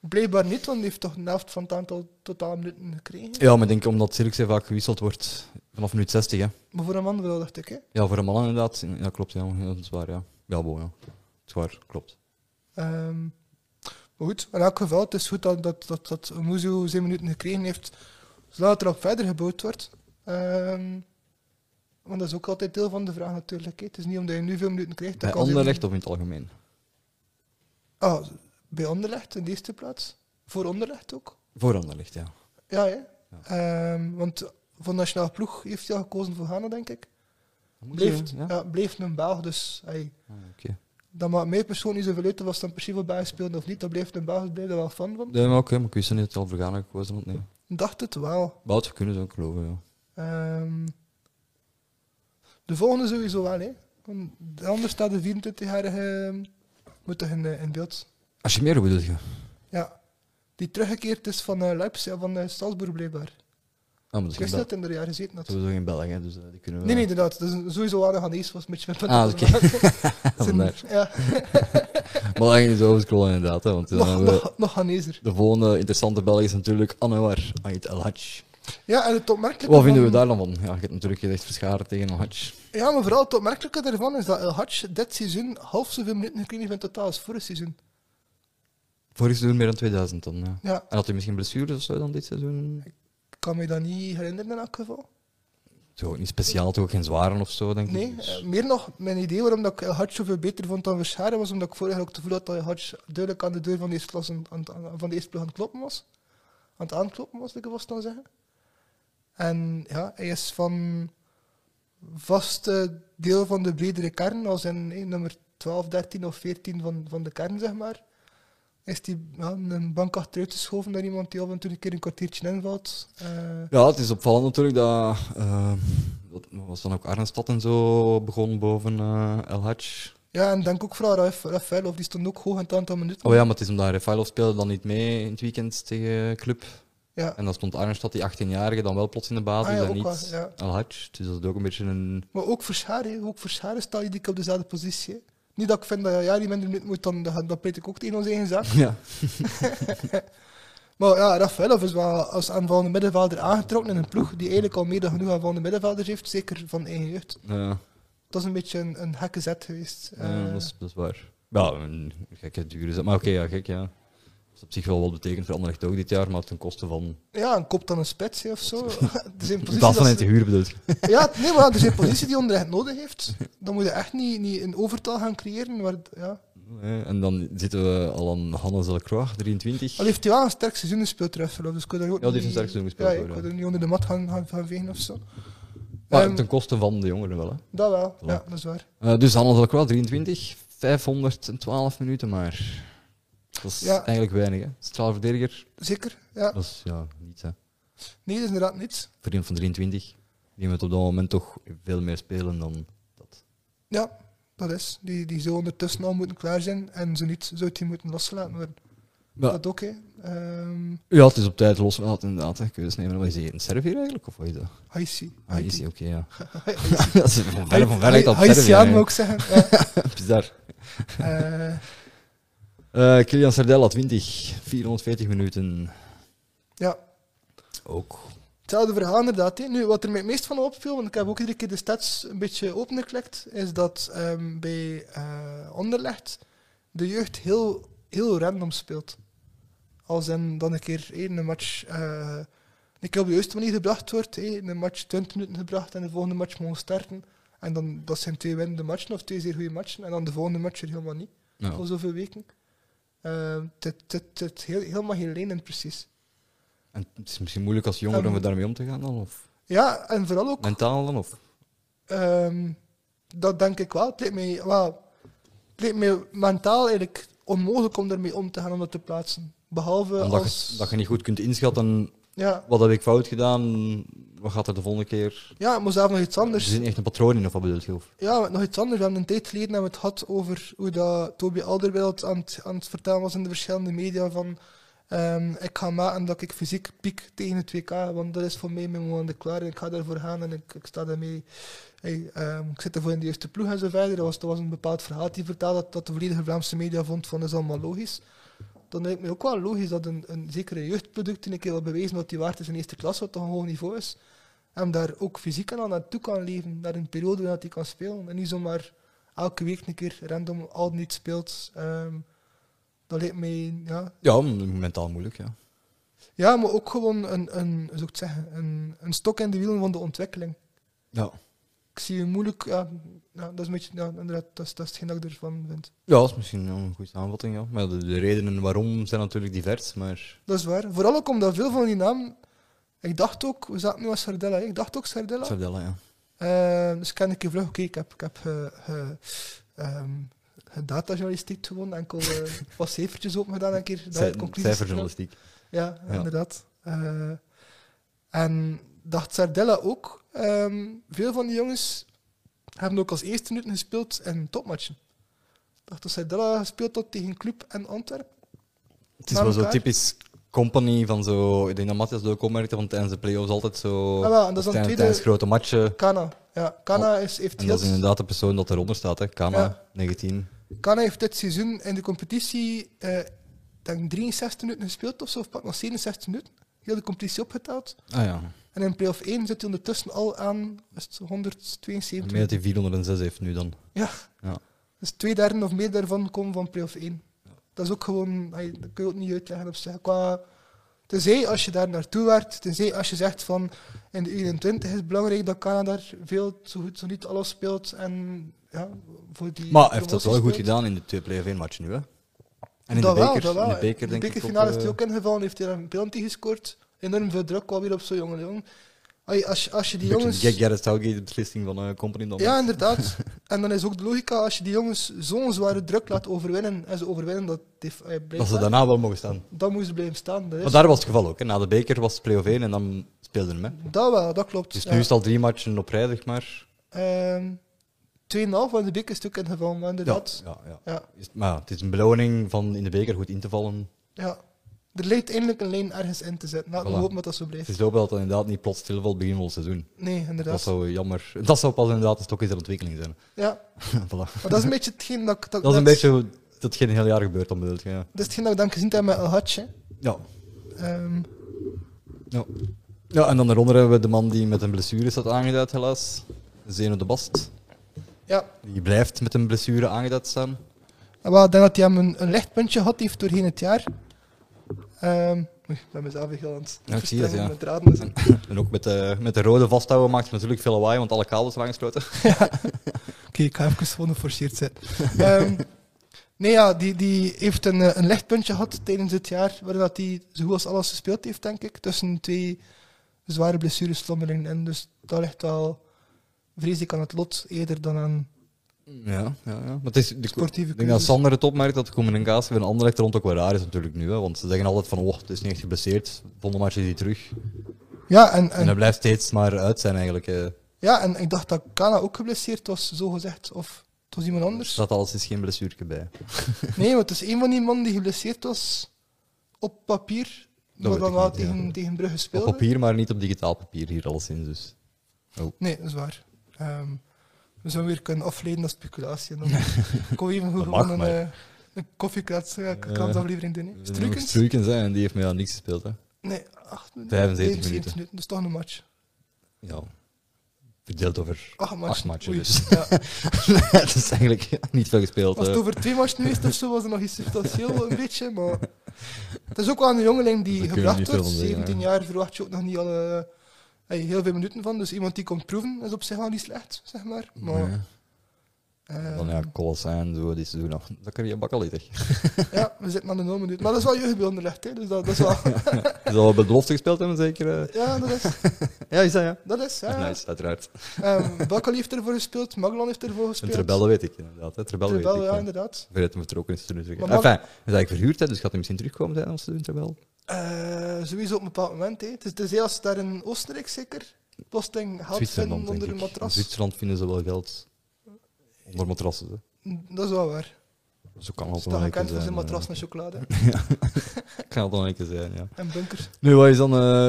S2: blijkbaar niet, want hij heeft toch een helft van het aantal totale minuten gekregen.
S1: Ja, maar ik denk omdat Zirkzee vaak gewisseld wordt vanaf minuut 60, hè.
S2: Maar voor een man wel, dacht ik. Hè.
S1: Ja, voor een man inderdaad. Ja, klopt, ja. Ja, Dat is waar, ja. Ja, bo, ja. Dat is waar, klopt.
S2: Ehm, maar goed, in elk geval, het is goed dat, dat, dat, dat Muzo zijn minuten gekregen heeft, zodat er op verder gebouwd wordt. Ehm, want dat is ook altijd deel van de vraag natuurlijk. hè. Het is niet omdat je nu veel minuten krijgt.
S1: Bij
S2: dat kan ze-
S1: Anderlecht of in het algemeen?
S2: Ah, bij Anderlecht in de eerste plaats. Voor Anderlecht ook.
S1: Voor Anderlecht, ja.
S2: Ja, hè. Ehm, want voor de nationale ploeg heeft hij al gekozen voor Ghana, denk ik. Bleef, ja.
S1: Ja? Ah,
S2: bleef een Belg, dus hey,
S1: Oké.
S2: dat maakt mij persoonlijk niet zoveel uit of ze dan precies voor België speelden of niet. Dat bleef een Belg, bleef er wel fan van.
S1: Ja, maar oké, maar ik wist niet dat hij al voor Ghana gekozen had, nee.
S2: Dacht het wel.
S1: Bout, we kunnen ze ook geloven, ja.
S2: Ehm, de volgende sowieso wel, hè. Want anders staat de 24-jarige moet toch in, eh, in beeld.
S1: Ashimero bedoel je?
S2: Ja. Die teruggekeerd is van eh, Leipzig, van eh Salzburg blijkbaar.
S1: Ah, maar dat is
S2: Ik
S1: geen
S2: wist
S1: Bel-
S2: dat hij er een jaar gezeten had.
S1: sowieso geen Belg, hè, dus eh, die kunnen we...
S2: Nee, nee, inderdaad. Dat is sowieso wel een Ghanese, was een beetje mijn punt.
S1: Ah, oké.
S2: Zijn-
S1: Vandaar.
S2: ja,
S1: Maar eigenlijk zo scrollen inderdaad, hè, want eh, dan
S2: nog,
S1: hebben we-
S2: nog, nog Ghaneser.
S1: de volgende interessante Belg is natuurlijk Anouar Ait El Hadj.
S2: Ja, en het opmerkelijke...
S1: Wat vinden we
S2: van-
S1: daar dan van? Ja, je hebt natuurlijk gezegd verscharen tegen El Hadj.
S2: Ja, maar vooral het opmerkelijke daarvan is dat El Hadj dit seizoen half zoveel minuten gekregen heeft in totaal als vorig seizoen.
S1: Vorig seizoen meer dan 2000 dan, ja.
S2: Ja,
S1: En had hij misschien blessures of zo dan dit seizoen?
S2: ik kan me dat niet herinneren in elk geval.
S1: Toch ook niet speciaal, toch ook geen zwaren of zo, denk
S2: Nee,
S1: ik. Dus-
S2: eh, meer nog, mijn idee waarom dat ik El Hadj zoveel beter vond dan Verscharen was omdat ik vorig jaar ook het gevoel had dat El Hadj duidelijk aan de deur van de eerste, klas aan, aan- aan- van de eerste ploeg aan het kloppen was. Aan het aankloppen was, ik was het dan zeggen. En ja, hij is van vast eh, deel van de bredere kern, als in eh, nummer 12, 13 of 14 van, van de kern, zeg maar. Is die ja, een bank achteruit geschoven naar iemand die af en toe een keer een kwartiertje invalt. Eh,
S1: Ja, het is opvallend natuurlijk dat. eh, dat was dan ook Arnstad en zo begon boven eh El Hadj.
S2: ja, en denk ook vooral Raf- Rafael, of die stond ook hoog in het aantal minuten.
S1: Oh ja, maar het is omdat Refailov speelde dan niet mee in het weekend tegen Club.
S2: Ja.
S1: En dan stond Arnstad, die 18-jarige, dan wel plots in de basis
S2: Ah ja,
S1: en
S2: ook
S1: niet
S2: wel, ja.
S1: El Hadj. Dus dat is ook een beetje een.
S2: Maar ook voor Scharen, ook voor Scharen sta je dik op dezelfde positie. hè. Niet dat ik vind dat ja, ja, die minder minuten moet, dan, dan, dan pleit ik ook tegen onze eigen zaak.
S1: Ja.
S2: Maar ja, Rafaelov is wel als aanvallende middenvelder aangetrokken in een ploeg die eigenlijk al meer dan genoeg aanvallende middenvelders heeft, zeker van eigen jeugd.
S1: Ja,
S2: Dat is een beetje een, een gekke zet geweest.
S1: ja,
S2: Eh,
S1: dat, is, dat is waar. Ja, een gekke dure zet. Maar oké, ja, gek, ja. Dat is op zich wel wat betekent voor Anderlecht ook dit jaar, maar ten koste van.
S2: ja, een kop dan een spits hè, of zo. Er zijn
S1: In
S2: posities
S1: plaats van
S2: dat
S1: in te
S2: ze-
S1: huur bedoel ik.
S2: Ja, nee, maar er zijn posities die onderrecht nodig heeft. Dan moet je echt niet, niet een overtal gaan creëren. Waar, ja.
S1: Eh, En dan zitten we al aan Hannes Delacroix, 23.
S2: Al heeft hij wel een sterk seizoen gespeeld, Rafaelov. Dus ik wil daar ook
S1: Ja, die heeft een sterk
S2: niet-
S1: seizoen gespeeld,
S2: Ja, ik
S1: hoor,
S2: wil
S1: ja.
S2: er niet onder de mat gaan, gaan, gaan vegen of zo.
S1: Maar
S2: Ehm,
S1: ten koste van de jongeren wel. Hè.
S2: Dat wel,
S1: Voilà.
S2: ja, dat is waar.
S1: Eh, dus Hannes Delacroix, 23, 512 minuten maar. Dat is
S2: Ja.
S1: eigenlijk weinig. Hè. Straalverdediger,
S2: Zeker, ja.
S1: dat is ja, niets. Hè.
S2: Nee, dat is inderdaad niets.
S1: Voor iemand van 23, die moet op dat moment toch veel meer spelen dan dat.
S2: Ja, dat is. Die, die zou ondertussen al moeten klaar zijn. En zo niet, zou die moeten losgelaten worden.
S1: Ja,
S2: Dat ook, hè. Ehm,
S1: ja het is op tijd losgelaten inderdaad. Hè. Keus nemen. Wat is hij, een Servier eigenlijk? Of wat is dat?
S2: Haïti.
S1: Ah, is hij, oké, ja.
S2: Haïti.
S1: dat is van ver, van ver lijkt dat op Servië,
S2: Haïtiaan,
S1: hè.
S2: moet ik zeggen. Ja.
S1: Bizar.
S2: Eh,
S1: Eh Kilian Sardella, 20, 440 minuten.
S2: ja,
S1: Ook
S2: Hetzelfde verhaal inderdaad. hè. Nu, wat er me het meest van opviel, want ik heb ook iedere keer de stats een beetje opengeklikt, is dat ehm, bij eh Anderlecht de jeugd heel, heel random speelt. Als in dan een keer hé, een match eh, een keer op de juiste manier gebracht wordt, hé, een match 20 minuten gebracht en de volgende match mogen starten. En dan, dat zijn twee winnende matchen of twee zeer goede matchen. En dan de volgende match er helemaal niet,
S1: Nou,
S2: voor zoveel weken. Eh, Het het- het heel, helemaal geen lenen precies.
S1: En het is misschien moeilijk als
S2: Ehm.
S1: jongeren om daarmee om te gaan dan? Of
S2: Ja, en vooral ook
S1: mentaal dan? Of?
S2: Ehm, dat denk ik wel. Het leek mij, wel, het leek mij mentaal eigenlijk onmogelijk om daarmee om te gaan om dat te plaatsen. Behalve
S1: Omdat
S2: als...
S1: je, dat je niet goed kunt inschatten,
S2: ja,
S1: wat heb ik fout gedaan, wat gaat er de volgende keer?
S2: ja, maar zelf nog iets
S1: Er
S2: anders.
S1: zit niet echt een patroon in, of wat bedoel je? Of?
S2: Ja, maar nog iets anders. We hebben een tijd geleden hebben we het gehad over hoe dat Toby Alderweireld aan het, aan het vertellen was in de verschillende media van ehm, ik ga maken dat ik fysiek piek tegen het WK, want dat is voor mij mijn moment klaar en ik ga daarvoor gaan en ik, ik sta daarmee, hey, ehm, ik zit ervoor in de eerste ploeg en zo verder. Dat was, dat was een bepaald verhaal die vertelde dat, dat de volledige Vlaamse media vond van dat is allemaal logisch. Dan lijkt me ook wel logisch dat een, een zekere jeugdproduct in een keer wel bewezen dat die waard is in eerste klas, wat toch een hoog niveau is hem daar ook fysiek aan naartoe kan leven, naar een periode waarin hij kan spelen. En niet zomaar elke week een keer random al niet speelt. Ehm, dat lijkt mij, ja.
S1: Ja, m- mentaal moeilijk, ja.
S2: Ja, maar ook gewoon een, een, hoe zou ik het zeggen, een, een stok in de wielen van de ontwikkeling.
S1: Ja,
S2: Ik zie je moeilijk, ja, ja, dat is een beetje, ja, inderdaad, dat is, dat is hetgeen dat ik ervan vind.
S1: ja dat is misschien wel een goede samenvatting, ja. Maar de, de redenen waarom zijn natuurlijk divers, maar...
S2: Dat is waar. Vooral ook omdat veel van die namen, ik dacht ook, we zaten nu als Sardella, hè. ik dacht ook Sardella.
S1: Sardella, ja.
S2: Eh, dus ik heb een keer vlug gekeken. Ik heb, ik heb ge- ge- ehm, ge- datajournalistiek gewoon, enkel eh, wat cijfertjes open gedaan en een keer daar
S1: Zij-
S2: conclusies
S1: Cijferjournalistiek.
S2: Ja,
S1: Ja.
S2: inderdaad. Eh, en dacht Sardella ook. ehm, veel van die jongens hebben ook als eerste minuten gespeeld in topmatchen. Ik dacht dat Sardella gespeeld had tegen Club en Antwerpen.
S1: Het is
S2: Aan
S1: wel zo
S2: elkaar.
S1: typisch company van zo... Ik denk dat Matthias dat ook opmerkte, want tijdens de play-offs altijd zo...
S2: Ah, wel, en dat is dan
S1: tijdens,
S2: tweede-
S1: tijdens grote matchen.
S2: Kana, ja. Kana is, heeft
S1: Oh, En dat is
S2: heel-
S1: inderdaad de persoon dat eronder staat, hè. Kana,
S2: Ja.
S1: 19.
S2: Kana heeft dit seizoen in de competitie eh, ik denk 63 minuten gespeeld of zo, of pak nog 67 minuten. Heel de competitie opgeteld.
S1: Ah ja.
S2: En in play-off 1 zit hij ondertussen al aan is het 172.
S1: Meer dat hij 406 heeft nu dan.
S2: Ja,
S1: Ja.
S2: dus twee derde of meer daarvan komen van play-off 1. Dat is ook gewoon, hey, dat kun je ook niet uitleggen op zich. Qua, tenzij als je daar naartoe werkt, tenzij als je zegt van in de 21 is het belangrijk dat Canada daar veel, zo goed, zo niet alles speelt. En ja, voor die
S1: Maar hij heeft dat wel
S2: promotie
S1: goed
S2: speelt.
S1: gedaan in de twee play-off 1 matchen nu, hè? En in
S2: dat
S1: de beker,
S2: wel, dat wel.
S1: in de beker denk
S2: bekerfinale
S1: ik eh,
S2: is
S1: ook,
S2: hij ook eh, ingevallen, heeft hij daar een penalty gescoord. Enorm veel druk kwam weer op zo'n jonge jongen. Ai, Als, je- als je die jongens...
S1: Get Gareth Southgate, de beslissing van eh, Company dan.
S2: Ja, inderdaad. en dan is ook de logica, als je die jongens zo'n zware druk laat overwinnen, en ze overwinnen, dat, def- eh,
S1: dat
S2: blijft
S1: ze
S2: waar,
S1: daarna wel mogen staan.
S2: dan moeten ze blijven staan. Dat, is,
S1: Maar daar was het geval ook. Hè. Na de beker was het play-off 1 en dan speelden hem. Hè.
S2: dat wel, dat klopt.
S1: Dus
S2: ja.
S1: nu is het al drie matchen op rij, zeg maar.
S2: Ehm, 2,5 van de beker is het ook ingevallen, maar inderdaad.
S1: Ja, ja, ja.
S2: Ja,
S1: Is het- maar ja, het is een beloning van in de beker goed in te vallen.
S2: ja. Er lijkt eindelijk een lijn ergens in te zetten. Laten we
S1: Voilà.
S2: hopen dat dat zo
S1: Het
S2: blijft.
S1: is wel dat het inderdaad niet plots stilvalt begin van het seizoen.
S2: Nee,
S1: Dat
S2: inderdaad.
S1: zou jammer. Dat zou pas inderdaad een stokje ter ontwikkeling zijn.
S2: Ja,
S1: voilà.
S2: maar dat is een beetje hetgeen dat ik...
S1: Dat is een beetje dat geen heel jaar gebeurt dan bedoel ik. Ja.
S2: Dat is hetgeen Dus dat ik dan gezien heb met El Hadje.
S1: ja,
S2: Ehm,
S1: Ja. ja, en dan daaronder hebben we de man die met een blessure staat aangeduid, helaas. Zeno de Bast.
S2: ja,
S1: Die blijft met een blessure aangeduid staan.
S2: En wel, ik denk dat hij hem een, een lichtpuntje had heeft doorheen het jaar. Ehm oei, ik ben mezelf heel aan het
S1: Ja, ik zie dat, ja.
S2: met draden. dus- en zo.
S1: En ook met de, met de rode vasthouden maakt hij natuurlijk veel lawaai, want alle kabels waren gesloten.
S2: Oké, ik ga even gewoon geforceerd zijn. Ehm, nee, ja, die, die heeft een, eh, een lichtpuntje gehad tijdens het jaar, waarin dat hij zo goed als alles gespeeld heeft, denk ik. Tussen twee zware blessures slommelingen. En dus dat ligt wel, vrees ik, aan het lot eerder dan aan...
S1: Ja, ja, ja. Maar het is, de,
S2: Sportieve
S1: ik denk dat
S2: crisis.
S1: Sander het opmerkt dat de communicatie van Anderlecht rond ook wel raar is natuurlijk nu. Hè, want ze zeggen altijd van, oh, het is niet echt geblesseerd. Volgende match is hij terug.
S2: Ja,
S1: En
S2: en,
S1: hij
S2: en,
S1: blijft steeds maar uit zijn eigenlijk. eh.
S2: ja, en ik dacht dat Kana ook geblesseerd was, zo gezegd. Of het was iemand
S1: Er
S2: anders.
S1: staat al sinds geen blessuurke bij.
S2: Nee, want het is een van die mannen die geblesseerd was op papier.
S1: Dat
S2: maar
S1: weet
S2: dan
S1: ik
S2: wel
S1: niet, ja.
S2: tegen, tegen Brugge
S1: Op
S2: speelde.
S1: papier, maar niet op digitaal papier hier alleszins. Dus.
S2: Nee, dat is waar. Ehm, we zouden weer kunnen afleiden naar speculatie. En dan kon even goed
S1: Dat mag,
S2: gewoon een,
S1: maar-
S2: eh, een koffiekrans- eh, kransaflevering doen. hè. Struikens?
S1: Struikens, hè, en die heeft mij aan niks gespeeld. Hè.
S2: Nee, 8 minuten.
S1: 75
S2: 71
S1: minuten.
S2: Dat is toch een match.
S1: Ja. Verdeeld over
S2: Acht matchen.
S1: acht matchen.
S2: Oei.
S1: Dus
S2: Ja.
S1: het is eigenlijk niet veel gespeeld.
S2: Als het
S1: eh.
S2: over twee matchen geweest of zo, was er nog iets substantieel een beetje, maar... Het is ook wel een jongeling die
S1: Daar kun je niet
S2: gebracht
S1: veel
S2: wordt.
S1: van zeggen,
S2: 17
S1: ja.
S2: jaar verwacht je ook nog niet alle... eh, heel veel minuten van, dus iemand die komt proeven is op zich wel niet slecht, zeg maar. Maar,
S1: Ja.
S2: eh,
S1: Dan ja, calls en zo, die ze doen nog. Dat kan je bakken lieten.
S2: ja, we zitten aan de 0 minuten. Maar dat is wel jeugd bij Anderlecht, hè, dus dat, dat is wel...
S1: Ze al bij de belofte gespeeld hebben, zeker. eh.
S2: ja, dat is...
S1: Ja, is dat ja.
S2: Dat is, ja.
S1: Nice, uiteraard.
S2: Ehm, Bakkeli heeft ervoor gespeeld, Maglon heeft ervoor
S1: Een
S2: gespeeld.
S1: trebelle weet ik inderdaad. Hè. Trebelle weet ik.
S2: Trebel, ja,
S1: ja.
S2: inderdaad.
S1: Vergeet hem vertrokken is toen natuurlijk.
S2: Maar
S1: Enfin,
S2: mag-
S1: hij is eigenlijk verhuurd, hè, dus gaat hij misschien terugkomen zijn als ze doen, Trebel.
S2: Eh, sowieso op een bepaald moment. Hè. Het is dus heel als ze daar in Oostenrijk zeker. Plotseling geld vinden
S1: Zwitserland,
S2: onder een
S1: denk ik. In
S2: matras.
S1: Zwitserland vinden ze wel geld onder matrassen. Hè.
S2: Dat is wel waar.
S1: Zo kan
S2: Dat
S1: het
S2: is toch
S1: wel een keer
S2: gekend voor
S1: zijn.
S2: zijn
S1: eh.
S2: matras en chocolade.
S1: Kan het wel een keer zijn, ja.
S2: en bunkers.
S1: Nu, wat is dan eh,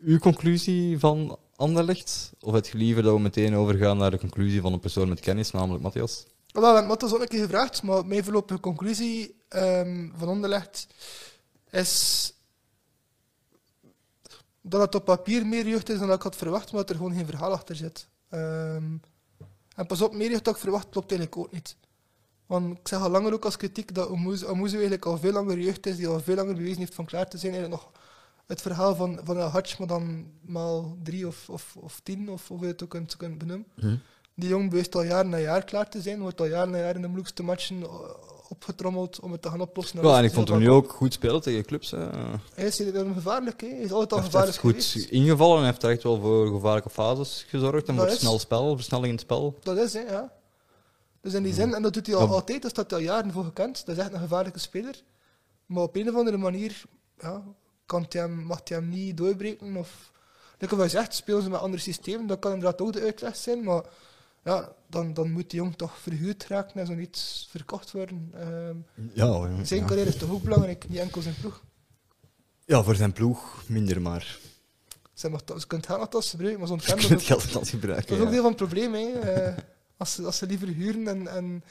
S1: uw conclusie van Anderlecht? Of het liever dat we meteen overgaan naar de conclusie van een persoon met kennis, namelijk Matthias?
S2: Wel, we hebben Matthias ook een keer gevraagd, maar mijn voorlopige conclusie ehm, van Anderlecht is dat het op papier meer jeugd is dan ik had verwacht, maar dat er gewoon geen verhaal achter zit. Ehm, en pas op, meer jeugd dan ik verwacht klopt eigenlijk ook niet. Want ik zeg al langer ook als kritiek dat Omuzu Omuzu eigenlijk al veel langer jeugd is, die al veel langer bewezen heeft van klaar te zijn. Eigenlijk nog het verhaal van, van El Hadj, maar dan maal drie of, of, of tien, of hoe je het ook kunt, kunt benoemen.
S1: Hm.
S2: Die jong beweest al jaar na jaar klaar te zijn, wordt al jaar na jaar in de moeilijkste matchen eh, opgetrommeld om het te gaan oplossen.
S1: Ja, en ik vond hem nu ook goed spelen tegen clubs. hè. Hij
S2: Hij is hier dan gevaarlijk, hè? hij is altijd al
S1: heeft- hij
S2: gevaarlijk
S1: heeft goed
S2: geweest.
S1: ingevallen en heeft er echt wel voor gevaarlijke fases gezorgd. En
S2: Dat
S1: voor
S2: Nou, is-
S1: snel spel, versnelling in het spel.
S2: Dat is, hè, ja. Dus in die zin, en dat doet hij al
S1: Ja.
S2: altijd, daar staat hij al jaren voor gekend. Dat is echt een gevaarlijke speler. Maar op een of andere manier ja, kan hij hem, mag hij hem niet doorbreken. Of, like wat je zegt, spelen ze met andere systemen, dat kan inderdaad ook de uitweg zijn. Maar ja, dan, dan moet die jong toch verhuurd raken en zo niet verkocht worden. Ehm,
S1: Ja,
S2: zijn carrière is toch ook belangrijk, niet enkel zijn ploeg.
S1: ja, voor zijn ploeg minder maar.
S2: Ze, mag, dat- ze kunt gaan als ze gebruiken, maar zo'n
S1: Je
S2: fan
S1: kunt
S2: dat
S1: het
S2: is ook-
S1: geld dan
S2: dat is
S1: gebruiken.
S2: ook deel
S1: ja.
S2: van het probleem. Hè. Eh, als, ze, als ze liever huren en, en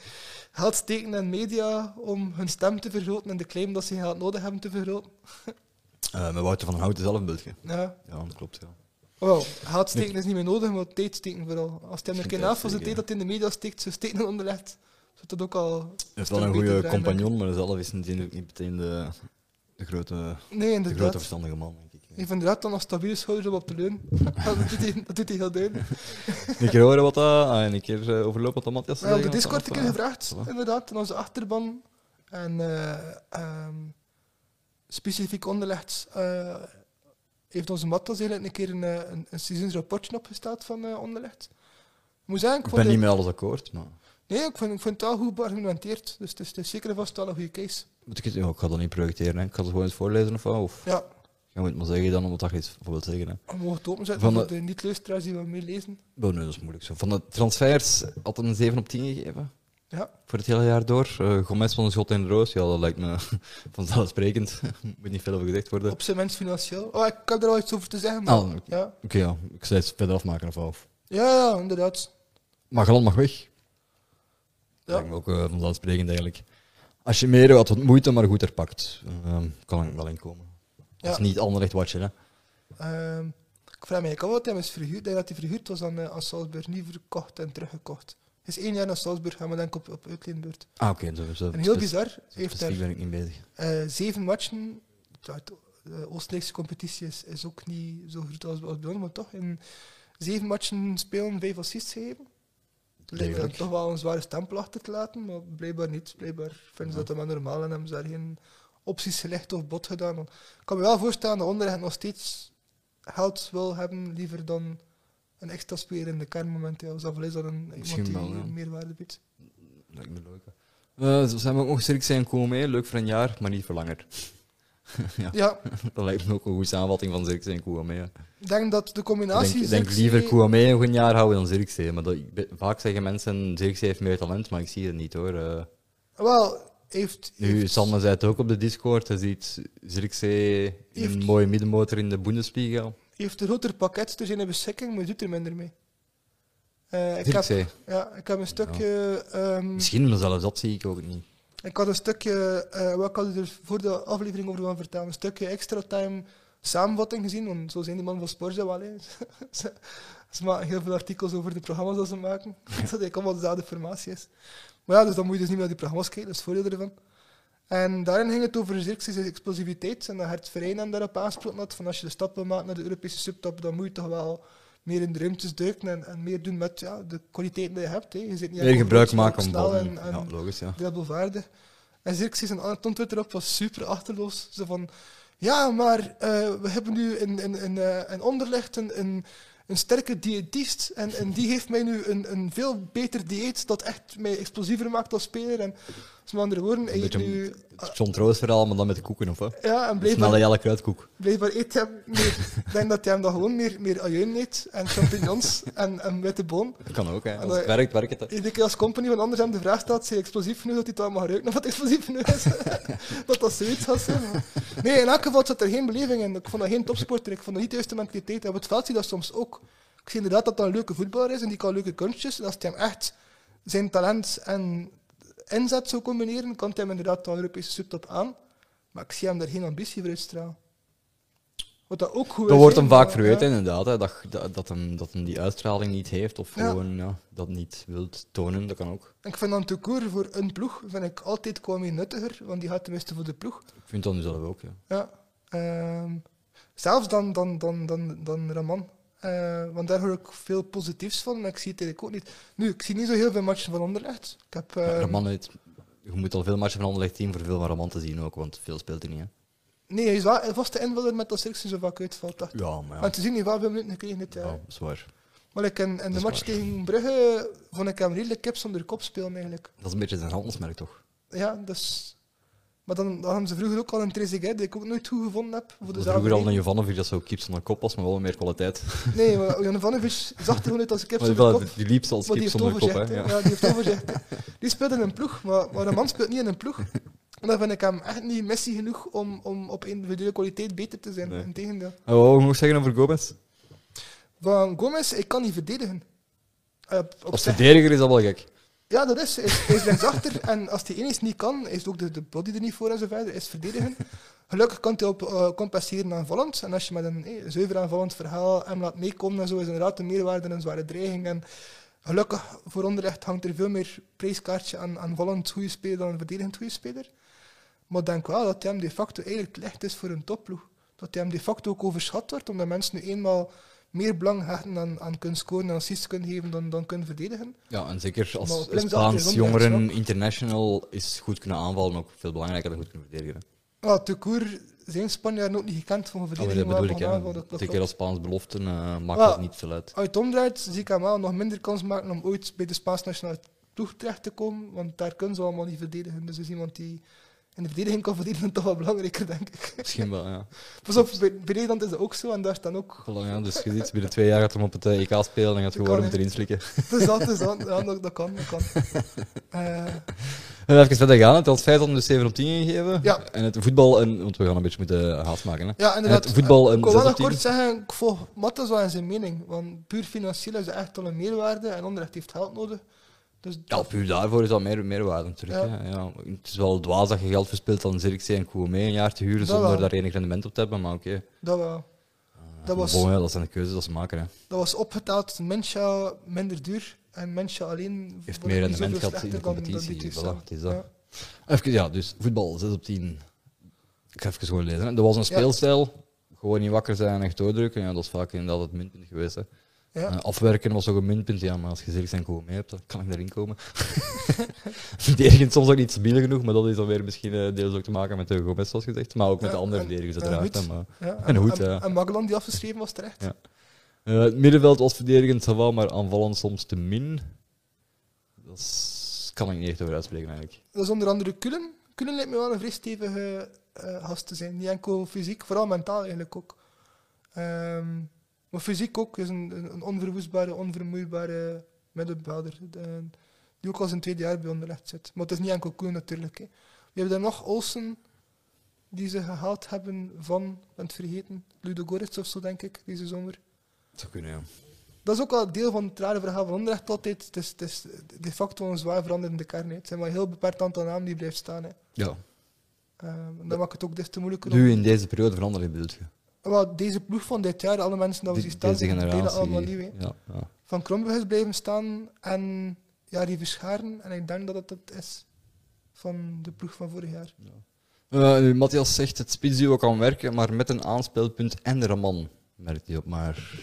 S2: geld steken in media om hun stem te vergroten en de claim dat ze geen geld nodig hebben te vergroten.
S1: Eh, Met Wouter van Houten zelf een bultje.
S2: Ja. Oh,
S1: Ja, dat klopt. Ja.
S2: Wel, geld steken is niet meer nodig, maar tijd steken vooral. Als hij hem een
S1: Misschien
S2: keer
S1: tijd
S2: na voor zijn tijd
S1: steken,
S2: dat hij in de media steekt, ze steken onder legt. Zou dat ook al.
S1: Hij heeft wel een goede compagnon, maar zelf is natuurlijk niet meteen de, de, grote,
S2: Nee,
S1: de grote
S2: inderdaad.
S1: verstandige man, denk ik.
S2: Hij heeft inderdaad dan een stabiele schouder om op te leunen. dat, doet hij, dat doet hij heel duidelijk.
S1: Een keer horen wat dat... Ah, en een keer eh, overlopen wat dat Matthias
S2: We hebben op
S1: zei,
S2: de
S1: want
S2: Discord een
S1: dat- eh,
S2: keer gevraagd,
S1: voilà.
S2: inderdaad, in onze achterban. En eh, ehm, specifiek onderlegd eh, heeft onze Mattas eigenlijk een keer een, eh, een, een seizoensrapportje opgesteld van eh onderlegd. Ik moet zeggen, ik
S1: Ik
S2: vond,
S1: ben
S2: het-
S1: niet met alles akkoord, maar...
S2: nee, ik vind, ik vind het wel goed beargumenteerd. Dus het is, het is zeker en vast wel een goede case.
S1: Moet ik, het, ja, ik ga dat niet projecteren, hè. ik ga het gewoon eens voorlezen of wat. Of
S2: Ja,
S1: je moet maar zeggen dan, omdat je iets voor wilt zeggen. Hè.
S2: we mogen het openzetten
S1: Van
S2: voor
S1: de-
S2: de niet-luisteraars die wel meer lezen.
S1: Oh, nee, dat is moeilijk zo. Van de transfers had hem een 7 op 10 gegeven.
S2: Ja.
S1: Voor het hele jaar door. Eh Gomez van de Schot en de Roos, ja, dat lijkt me vanzelfsprekend. Moet niet veel over gezegd worden.
S2: Op zijn minst financieel. Oh, ik heb er al iets over te zeggen. Maar,
S1: Ah, Oké,
S2: ja.
S1: ja. Ik zou het verder afmaken of wat. of-
S2: Ja, ja, inderdaad.
S1: Maar Galan mag weg.
S2: Ja.
S1: Lijkt me ook eh, vanzelfsprekend eigenlijk. Als je meer had wat moeite, maar goed erpakt, eh, kan ik wel inkomen. Dat is
S2: Ja.
S1: niet anderlecht watje, hè.
S2: Ehm, ik vraag me eigenlijk af wat hij is verhuurd. Ik denk dat hij verhuurd was aan, eh, aan Salzburg, niet verkocht en teruggekocht. Hij is één jaar naar Salzburg gaan, maar denk op, op uitleenbeurt.
S1: Ah, oké. zo- zo-
S2: En heel
S1: spec-
S2: bizar,
S1: zo
S2: heeft
S1: specifiek
S2: hij
S1: ben ik niet bezig.
S2: eh, zeven matchen. ja, de, eh, Oostenrijkse competitie is, is ook niet zo groot als, als bij ons, maar toch in zeven matchen spelen, vijf assists gegeven. Dus ik
S1: Degelijk.
S2: denk toch wel een zware stempel achter te laten, maar blijkbaar niet. Blijkbaar vinden ze dat helemaal normaal en hebben ze daar geen opties gelegd of bot gedaan. Want Ik kan me wel voorstellen dat onderleggen nog steeds geld wil hebben liever dan een extra speler in de kern momenteel. Dus dan is dat een,
S1: Misschien
S2: iemand die
S1: wel, ja.
S2: meerwaarde biedt.
S1: Lijkt me leuk. hè. Eh, zo zijn we ook nog sterk zijn komen mee. Leuk voor een jaar, maar niet voor langer. ja,
S2: Ja,
S1: dat lijkt me ook een goede samenvatting van Zirkzee en Kouame. hè.
S2: ik denk dat de
S1: Ik denk,
S2: combinatie...
S1: ik denk
S2: Zirkzee-
S1: liever Kouame nog een jaar houden dan Zirkzee. Maar dat, ik ben- vaak zeggen mensen, Zirkzee heeft meer talent, maar ik zie het niet hoor. eh.
S2: Wel, heeft...
S1: Nu,
S2: heeft-
S1: Sanne zei het ook op de Discord. Hij ziet Zirkzee een
S2: Heeft-
S1: mooie middenmotor in de Bundesliga.
S2: heeft een groter pakket ter zijn dus beschikking, maar doet er minder mee. Eh, ik, heb,
S1: Zirkzee.
S2: ja, ik heb een stukje. ehm,
S1: Misschien, maar zelfs dat zie ik ook niet.
S2: ik had een stukje. eh wat ik had er voor de aflevering over gaan vertellen? Een stukje extra time samenvatting gezien, want zo zijn die mannen van Sporza wel. hè. ze, ze maken heel veel artikels over de programma's dat ze maken. dat eigenlijk allemaal dezelfde informatie is. Maar ja, dus dan moet je dus niet meer naar die programma's kijken, dat is het voordeel ervan. En daarin ging het over Xerxes' explosiviteit. En dat Gert Verheyen hem daarop aangesproken had, van als je de stap wil maken naar de Europese subtop, dan moet je toch wel meer in de ruimtes duiken en, en meer doen met ja, de kwaliteiten die je hebt. Hè. Je zit niet
S1: Meer
S2: echt
S1: gebruik
S2: overal
S1: maken van
S2: snel
S1: ballen.
S2: en- en-
S1: Ja, logisch, ja.
S2: dubbelvaardig. En Xerxes en Anton Twitter op was super achterloos. Ze van, ja, maar eh, we hebben nu in, in, in, eh, in Anderlecht een, een, een sterke diëtist. En, en die heeft mij nu een, een veel beter dieet dat echt mij explosiever maakt als speler. En dus met andere woorden, hij
S1: Een
S2: eet
S1: beetje
S2: nu...
S1: het John Troost verhaal, maar dan met de koeken, of wat?
S2: Ja, en blijkbaar,
S1: Snelle jelle kruidkoek.
S2: blijkbaar eet hij meer... Ik denk dat hij hem dan gewoon meer, meer ajuin eet en champignons en, en witte boon.
S1: Dat kan ook, hè.
S2: En
S1: Als
S2: dat-
S1: het werkt, werkt het.
S2: Iedere keer als company van anders hem de vraag stelt, zei explosief genoeg dat hij het allemaal ruikt of wat explosief genoeg is. dat dat zoiets was. hè, maar- Nee, in elk geval zat er geen beleving in. Ik vond dat geen topsporter, ik vond dat niet de juiste mentaliteit. En op het veld zie je dat soms ook. Ik zie inderdaad dat dat een leuke voetballer is en die kan leuke kunstjes. En als hij hem echt zijn talent en inzet zou combineren, kan hij hem inderdaad de Europese subtop aan. Maar ik zie hem daar geen ambitie voor uitstralen. Wat dat ook goed
S1: Dat
S2: is,
S1: wordt
S2: hè,
S1: hem vaak
S2: maar-
S1: verweten,
S2: ja.
S1: inderdaad. Hè, dat, dat, dat, hem, dat hem die uitstraling niet heeft of
S2: Ja.
S1: gewoon ja, dat niet wilt tonen. Dat kan ook.
S2: Ik vind dan te koer voor een ploeg, vind ik altijd Kwame nuttiger, want die gaat tenminste voor de ploeg.
S1: Ik vind dat nu zelf ook. Ja.
S2: Ja. ehm, zelfs dan, dan, dan, dan, dan Raman. Eh, want daar hoor ik veel positiefs van, maar ik zie het eigenlijk ook niet. Nu, ik zie niet zo heel veel matchen van Anderlecht. Ik heb,
S1: Maar
S2: ehm,
S1: Raman heeft- je moet al veel matchen van Anderlecht zien voor veel van Raman te zien ook, want veel speelt hij niet. Hè.
S2: Nee, hij is wel een vaste invaller met dat Sirksen zo vaak uitvalt. dacht ik.
S1: Ja, maar
S2: En te zien, hij heeft wel veel minuten gekregen dit jaar.
S1: Ja, dat is waar.
S2: Maar ik in, in de
S1: is
S2: match
S1: waar.
S2: tegen Brugge vond ik hem redelijk kip zonder kop spelen eigenlijk.
S1: Dat is een beetje zijn handelsmerk, toch?
S2: Ja, dus... Maar dan, dan hebben ze vroeger ook al een Trezeguet, die ik ook nooit goed gevonden heb. Voor
S1: Dat
S2: de
S1: is vroeger al een Jovanovic dat zo kiep zonder kop was, maar wel meer kwaliteit.
S2: Nee, maar Jovanovic zag er gewoon uit als een kip
S1: Maar die,
S2: zonder kop.
S1: wel- die liep zoals
S2: Maar die
S1: kip
S2: heeft
S1: zonder kop. Hè.
S2: overzicht.
S1: Ja.
S2: hè. Ja, die heeft overzicht. hè. Die speelt in een ploeg, maar, maar een man speelt niet in een ploeg. En dan vind ik hem echt niet Messi genoeg om, om op individuele kwaliteit beter te zijn.
S1: Nee.
S2: Integendeel.
S1: En wat wou je nog zeggen over Gomez?
S2: Van Gomez, ik kan niet verdedigen. Eh, Op, op
S1: Als
S2: zich-
S1: verdediger is dat wel gek.
S2: Ja, dat is. Hij is- hij is linksachter en als hij ineens niet kan, is ook de, de body er niet voor en zo verder. is verdedigen. Gelukkig kan hij op eh, compenseren aanvallend. En als je met een eh, zuiver aanvallend verhaal hem laat meekomen en zo, is inderdaad een meerwaarde en een zware dreiging. En gelukkig voor onderrecht hangt er veel meer prijskaartje aan aanvallend goede speler dan een verdedigend goede speler. Maar ik denk wel dat hij hem de facto eigenlijk te licht is voor een topploeg. Dat hij hem de facto ook overschat wordt, omdat mensen nu eenmaal meer belang hechten aan, aan kunnen scoren en assists kunnen geven dan, dan kunnen verdedigen.
S1: Ja, en zeker
S2: Maar
S1: als
S2: op linksachter is
S1: Spaans
S2: ook
S1: jongeren
S2: links,
S1: international is goed kunnen aanvallen, ook veel belangrijker dan goed kunnen verdedigen. hè.
S2: Ja, de Koer zijn Spanjaarden ook niet gekend van
S1: Ja, Ah, maar
S2: verdediging.
S1: dat bedoel ik,
S2: waarvan aanval,
S1: hè.
S2: dat klopt
S1: Zeker
S2: ook.
S1: als Spaans beloften eh, maakt
S2: Ja.
S1: dat niet veel uit.
S2: Als je het omdraait, zie ik hem wel nog minder kans maken om ooit bij de Spaans nationale ploeg terecht te komen, want daar kunnen ze allemaal niet verdedigen. Dus is iemand die in de verdediging kan verdedigen toch wel belangrijker, denk ik.
S1: Misschien wel, ja.
S2: Pas op, bij, bij Nederland is dat ook zo en daar staan ook...
S1: Voilà, ja, dus je ziet, binnen twee jaar gaat hem op het eh, EK spelen en gaat
S2: Dat
S1: gewoon
S2: kan,
S1: moeten
S2: hè.
S1: inslikken.
S2: Dus dat, dus dat, ja, dat, dat kan, dat kan. Eh,
S1: En even verder gaan. Het had 5 om de 7 op 10 gegeven.
S2: Ja.
S1: En het voetbal, en, want we gaan een beetje moeten haast maken. Hè.
S2: ja, inderdaad.
S1: Het voetbal
S2: ik
S1: een
S2: wil
S1: 6
S2: wel
S1: op 10.
S2: nog kort zeggen, ik volg Mattes wel in zijn mening, want puur financieel is het echt al een meerwaarde en onderrecht heeft geld nodig. Dus
S1: Ja, puur daarvoor is dat meer, meerwaarde natuurlijk.
S2: Ja.
S1: hè. Ja, het is wel dwaas dat je geld verspilt aan Zirkzee en Kouame een jaar te huren
S2: Dat
S1: zonder
S2: wel.
S1: daar enig rendement op te hebben, maar oké.
S2: dat wel.
S1: Maar
S2: Dat was,
S1: bon, ja, dat zijn de keuzes dat ze maken. Hè.
S2: dat was opgeteld, Mensja minder duur en Mensja alleen
S1: Heeft
S2: wordt
S1: meer
S2: niet
S1: rendement
S2: zoveel
S1: gehad in de
S2: slechter dan- dan
S1: competitie.
S2: dit
S1: Voilà,
S2: jaar.
S1: het is dat.
S2: Ja.
S1: Even, ja, dus voetbal, 6 op 10. Ik ga even gewoon lezen. Hè. Er was een speelstijl, gewoon niet wakker zijn en echt doordrukken. Ja, dat is vaak inderdaad het minpunt geweest. Hè.
S2: Ja.
S1: Eh, afwerken was ook een minpunt, ja, maar als je zegt zijn gewoon mee hebt, dan kan ik daarin komen. Verdedigend soms ook niet stabiel genoeg, maar dat is dan weer misschien eh, deels ook te maken met de Gomez, zoals gezegd. Maar ook met
S2: Ja, eh,
S1: de andere
S2: en-
S1: verdedigers,
S2: en
S1: uiteraard.
S2: Hoed.
S1: hè, maar-
S2: Ja,
S1: En goed,
S2: en,
S1: ja.
S2: en Magellan die afgeschreven was terecht.
S1: Ja. Eh, het middenveld was verdedigend, ça va, maar aanvallend soms te min. Dat is- kan ik niet echt over uitspreken, eigenlijk.
S2: Dat is onder andere Kulen. Kulen lijkt me wel een vrij stevige eh, gast te zijn. Niet enkel fysiek, vooral mentaal eigenlijk ook. Ehm, maar fysiek ook is een, een een onverwoestbare, onvermoeibare middenvelder. De- Die ook al zijn tweede jaar bij onderlegd zit. Maar het is niet enkel Kulen natuurlijk. Hè. We hebben daar nog Olsen, die ze gehaald hebben van, ik ben het vergeten, Ludo Goretz of zo denk ik, deze zomer.
S1: Dat zou kunnen, ja.
S2: Dat is ook wel deel van het rare verhaal van Onderrecht altijd. Het is, het is de facto een zwaar veranderende kern. hè. Het zijn maar een heel beperkt aantal namen die blijft staan. Hè.
S1: Ja.
S2: Ehm, en dat maakt het ook des te moeilijker. om-
S1: Nu in deze periode veranderen, bedoel je?
S2: wel, deze ploeg van dit jaar, alle mensen dat Nou, we zien
S1: Die-
S2: staan,
S1: Deze
S2: die deden allemaal nieuw.
S1: generatie.
S2: hè.
S1: Ja, ja.
S2: Van Krombrug is blijven staan en ja, die verscharen. En ik denk dat dat het is van de ploeg van vorig jaar.
S1: Eh, nu, Matthias zegt het spitsduo kan werken, maar met een aanspeelpunt en er een man. Merkt hij op, maar.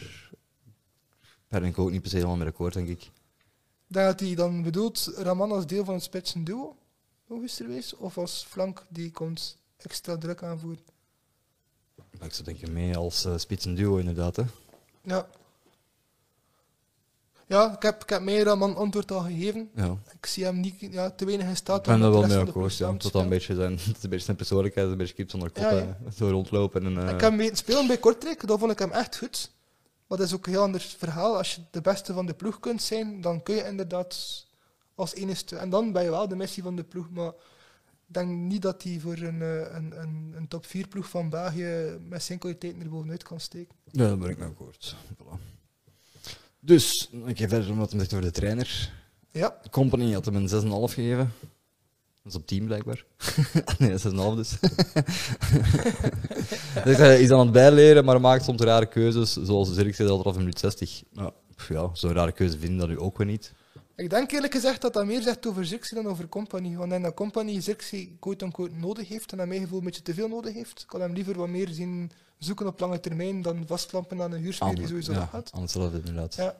S1: Daar ben ik ook niet per se helemaal mee akkoord, denk ik.
S2: Ik Denk dat hij dan bedoelt Raman als deel van het spitsen duo, logisch of als flank die komt extra druk aanvoeren.
S1: Maar ik zou denken mee als eh, spits en duo, inderdaad. Hè.
S2: Ja. Ja, ik heb, ik heb mij Raman antwoord al gegeven.
S1: Ja.
S2: Ik zie hem niet, ja, te weinig in staat
S1: Ik ben
S2: om
S1: daar
S2: de
S1: wel
S2: rest
S1: mee
S2: van de ploeg
S1: akkoord, ja.
S2: samen te
S1: Tot dan een
S2: spelen.
S1: beetje zijn, het is een beetje zijn persoonlijkheid, een beetje kiep zonder kop,
S2: Ja, ja.
S1: hè. zo rondlopen. En, eh,
S2: Ik heb hem weten spelen bij Kortrijk, dat vond ik hem echt goed. Maar dat is ook een heel ander verhaal. Als je de beste van de ploeg kunt zijn, dan kun je inderdaad als enigste... En dan ben je wel de missie van de ploeg, maar ik denk niet dat hij voor een, eh, een, een, een top 4 ploeg van België met zijn kwaliteiten er bovenuit kan steken.
S1: Ja, daar ben ik mee akkoord. Voilà. Dus, ik ga verder omdat hij zegt over de trainer.
S2: Ja,
S1: Company had hem een 6,5 gegeven. Dat is op 10 blijkbaar. nee, 6,5 dus. dus hij is aan het bijleren, maar maakt soms rare keuzes. Zoals Zirk zei, altijd af een minuut 60. Nou, pff, ja, zo'n rare keuze vinden dat u ook weer niet.
S2: ik denk eerlijk gezegd dat dat meer zegt over Zirkzee dan over Company. Want in dat Company Zirkzee quote-unquote nodig heeft en naar mijn gevoel een beetje te veel nodig heeft. Ik kan hem liever wat meer zien zoeken op lange termijn dan vastklampen aan een huurspeler die sowieso
S1: ja,
S2: nog gaat.
S1: aan hetzelfde inderdaad.
S2: Ja.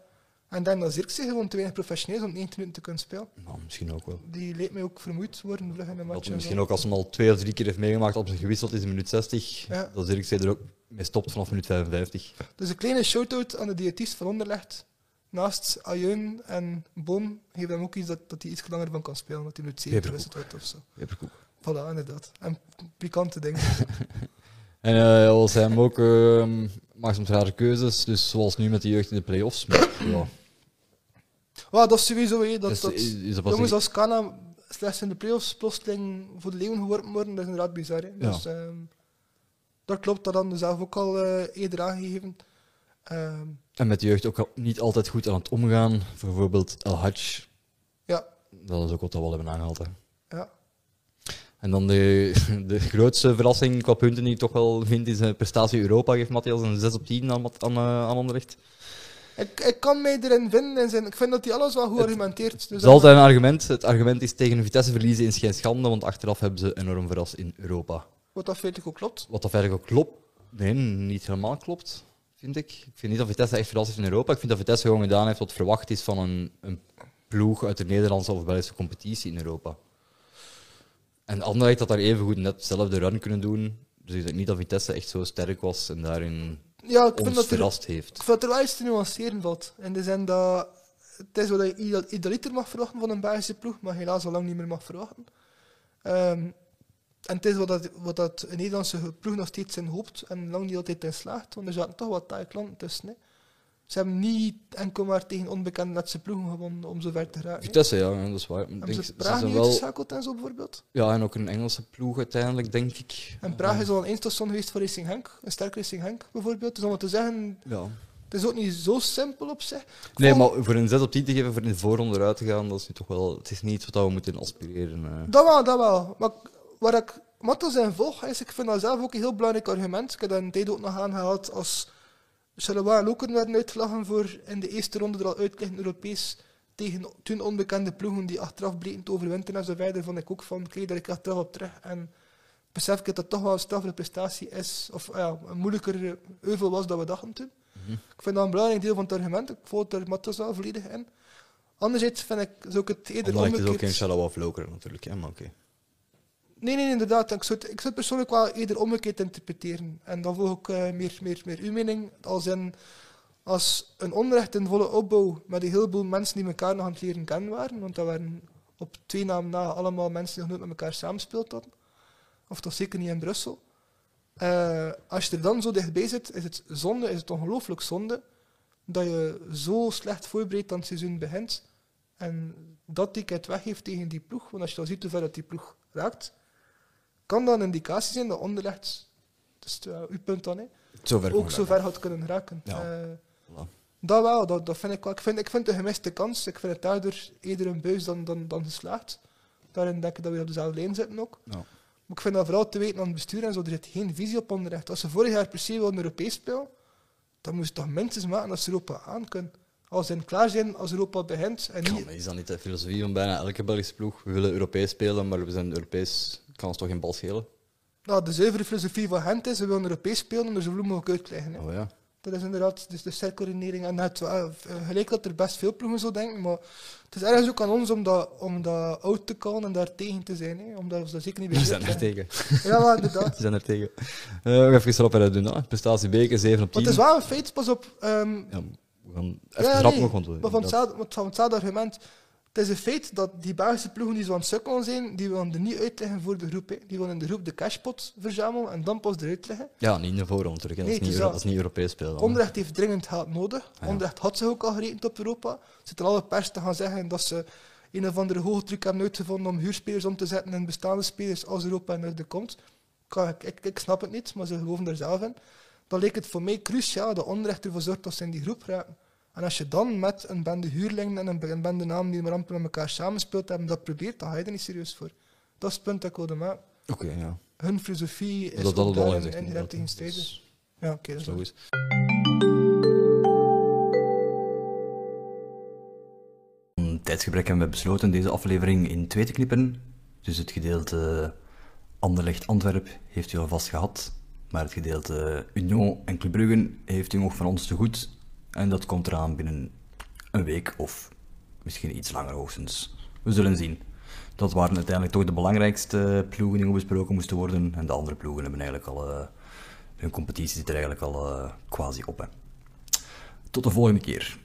S2: En dan dat Zirkzee gewoon te weinig professioneel is om 90 minuten te kunnen spelen.
S1: Nou, misschien ook wel.
S2: Die leek mij ook vermoeid worden vlug in een
S1: Dat
S2: match.
S1: hij
S2: en
S1: misschien
S2: zo.
S1: ook als hij al twee of drie keer heeft meegemaakt, als hij gewisseld is in minuut 60,
S2: Ja.
S1: dat Zirk zei er ook mee stopt vanaf minuut 55.
S2: Dus een kleine shout-out aan de diëtist van Onderlecht. Naast Ayeun en Boom geef hem ook iets dat, dat hij iets langer van kan spelen. Dat hij minuut 7
S1: Peperkoek.
S2: gewisseld wordt of zo.
S1: Peperkoek.
S2: Voilà, inderdaad. En pikante dingen.
S1: En eh als hij hem ook ehm, maakt soms rare keuzes, dus zoals nu met de jeugd in de play-offs. Maar, ja,
S2: Well, dat is sowieso, hè, dat,
S1: is,
S2: dat
S1: Dus is, is dat pas
S2: jongens
S1: een-
S2: als Kana slechts in de playoffs plotseling voor de leeuwen geworpen worden, dat is inderdaad bizar. hè.
S1: Ja.
S2: Dus, ehm, dat klopt, dat hadden we zelf ook al eh, eerder aangegeven. Ehm,
S1: En met de jeugd ook al niet altijd goed aan het omgaan. Bijvoorbeeld El Hadj.
S2: Ja.
S1: Dat is ook wat we al hebben aangehaald. Hè.
S2: ja.
S1: En dan de, de grootste verrassing qua punten die ik toch wel vind, is een prestatie Europa. Geeft Matthias een 6 op 10 aan, Mat- aan, eh, aan Anderlecht.
S2: Ik, ik kan mij erin vinden. en zijn, ik vind dat hij alles wel goed
S1: Het-
S2: argumenteert.
S1: Dat
S2: Dus
S1: is altijd een argument. Het argument is tegen Vitesse verliezen is geen schande, want achteraf hebben ze enorm verrast in Europa.
S2: Wat dat feitelijk ook klopt.
S1: Wat dat eigenlijk ook klopt. Nee, niet helemaal klopt, vind ik. Ik vind niet dat Vitesse echt verrast heeft in Europa. Ik vind dat Vitesse gewoon gedaan heeft wat verwacht is van een, een ploeg uit de Nederlandse of Belgische competitie in Europa. En Anderlecht had daar even goed net hetzelfde run kunnen doen. Dus ik denk niet dat Vitesse echt zo sterk was en daarin
S2: Ja, ik vind
S1: ons
S2: dat er, ik
S1: verrast heeft.
S2: vind dat er wel iets te nuanceren valt. In de zin dat het is wat je ideal- idealiter mag verwachten van een Belgische ploeg, maar helaas al lang niet meer mag verwachten. Ehm, en het is wat, dat, wat dat een Nederlandse ploeg nog steeds in hoopt en lang niet altijd in slaagt, want er zaten toch wat taaie klanten tussen. hè. Ze hebben niet enkel maar tegen onbekende Letse ploegen gewonnen om zover te raken.
S1: Vitesse, ja, dat is waar. Ik
S2: Hebben
S1: Denk,
S2: ze
S1: ze
S2: Praag
S1: zijn
S2: niet
S1: wel,
S2: uitgeschakeld en zo bijvoorbeeld?
S1: ja, en ook een Engelse ploeg uiteindelijk, denk ik.
S2: En Praag is al een eindstation geweest voor Racing Henk, een sterk Racing Henk bijvoorbeeld. Dus om het te zeggen,
S1: Ja.
S2: het is ook niet zo simpel op zich. Ik
S1: Nee,
S2: vond-
S1: maar voor een 6 op 10 te geven, voor in de voorronde uit te gaan, dat is nu toch wel. Het is niet iets wat we moeten aspireren. eh.
S2: Dat wel, dat wel. Maar ik- waar ik Mattels in volg, is, ik vind dat zelf ook een heel belangrijk argument. Ik heb dat in tijd ook nog aangehaald als Charleroi en Lokeren werden uitgelachen voor in de eerste ronde er al uitliggen Europees tegen toen onbekende ploegen die achteraf bleken te overwinteren en zo verder, vond ik ook van, kreeg daar ik achteraf op terug. En besef ik dat dat toch wel een straffere prestatie is, of ja, een moeilijker euvel was dan we dachten toen.
S1: Mhm.
S2: Ik vind dat een belangrijk deel van het argument. Ik volg er Mattels wel volledig in. Anderzijds vind ik, zou ik het eerder
S1: Anderlecht is ook geen
S2: omgekeerd-
S1: Shallow of Lokeren natuurlijk, hè, maar oké.
S2: Nee, nee, inderdaad. Ik zou, het, ik zou het persoonlijk wel eerder omgekeerd interpreteren. En dan volg ik eh, meer, meer, meer uw mening. Als, in, als een onrecht in volle opbouw met een heleboel mensen die elkaar nog aan het leren kennen waren. Want dat waren op twee naam na allemaal mensen die nog nooit met elkaar samenspeeld hadden. Of toch zeker niet in Brussel. Eh, als je er dan zo dichtbij zit, is het zonde, is het ongelooflijk zonde dat je zo slecht voorbereid aan het seizoen begint. En dat ticket weggeeft tegen die ploeg. Want als je dan ziet hoe ver dat die ploeg raakt, kan dat een indicatie zijn dat onderlegd, dus eh, uw punt dan, hè,
S1: Zover
S2: ook zo ver had kunnen raken.
S1: Ja.
S2: Eh,
S1: Voilà.
S2: dat wel, dat, dat vind ik wel. Ik vind, ik vind het een gemiste kans. Ik vind het daardoor eerder een buis dan, dan, dan geslaagd. Daarin denk ik dat we op dezelfde lijn zitten ook. Maar ik vind dat vooral te weten aan het bestuur en zo. Er zit geen visie op onderrecht. Als ze vorig jaar per se wilden Europees spelen, dan moest toch mensen maken dat ze Europa aan kunnen. Als ze klaar zijn als Europa begint. En
S1: Ja,
S2: niet,
S1: maar is dat niet de filosofie van bijna elke Belgische ploeg? We willen Europees spelen, maar we zijn Europees, kan ons toch geen bal schelen?
S2: nou, de zuivere filosofie van Gent is, ze willen Europees spelen, dus zoveel mogelijk uitkrijgen. hè.
S1: Oh ja.
S2: Dat is inderdaad dus de cirkelredenering. En net, eh, gelijk dat er best veel ploegen zo denken, maar het is ergens ook aan ons om dat, om dat oud te kallen en daar tegen te zijn. Hè, omdat we dat zeker niet
S1: We zijn
S2: uit
S1: er
S2: zijn.
S1: tegen.
S2: Ja, maar inderdaad.
S1: We zijn er tegen. Eh, we gaan even rap eruit doen. Hè. Prestatie beker, 7 op 10.
S2: Want het is wel een feit, pas op. ehm,
S1: Ja, we gaan even
S2: ja,
S1: rap
S2: nee,
S1: nog, want we-
S2: maar van
S1: dat-
S2: hetzelfde, want van hetzelfde argument. Het is een feit dat die Belgische ploegen die zo aan het sukkelen zijn, die willen er niet uitleggen voor de groep. hè. Die willen in de groep de cashpot verzamelen en dan pas eruit leggen.
S1: Ja, niet in de voorrond terug. hè. Dat,
S2: Nee,
S1: is niet
S2: het is
S1: Euro-
S2: dat.
S1: dat is niet Europees spelen. dan, hè.
S2: Onrecht heeft dringend geld nodig.
S1: Ja.
S2: Onrecht had zich ook al gerekend op Europa. Zit er alle pers te gaan zeggen dat ze een of andere hoge truc hebben uitgevonden om huurspelers om te zetten en bestaande spelers als Europa in orde komt. Ik kan- Ik, ik, ik snap het niet, maar ze geloven er zelf in. Dan leek het voor mij cruciaal dat onrecht ervoor zorgt dat ze in die groep raken. En als je dan met een bende huurlingen en een be- een bende namen die maar amper met elkaar samenspeelt hebben, dat probeert, dan ga je er niet serieus voor. Dat is het punt dat ik wilde maken.
S1: Oké, ja.
S2: Hun filosofie is
S1: Dat hadden we al
S2: daar
S1: gezegd.
S2: indirect
S1: inderdaad, hè.
S2: tegenstrijdig.
S1: Dus-
S2: Ja, oké. dat is
S1: Zo
S2: waar.
S1: is. Om Tijdsgebrek hebben we besloten deze aflevering in twee te knippen. Dus het gedeelte Anderlecht-Antwerp heeft u alvast gehad. Maar het gedeelte Union en Club Brugge heeft u nog van ons te goed. En dat komt eraan binnen een week of misschien iets langer hoogstens. We zullen zien. Dat waren uiteindelijk toch de belangrijkste ploegen die nog besproken moesten worden. En de andere ploegen hebben eigenlijk al... eh, hun competitie zit er eigenlijk al eh, quasi op. Hè. Tot de volgende keer.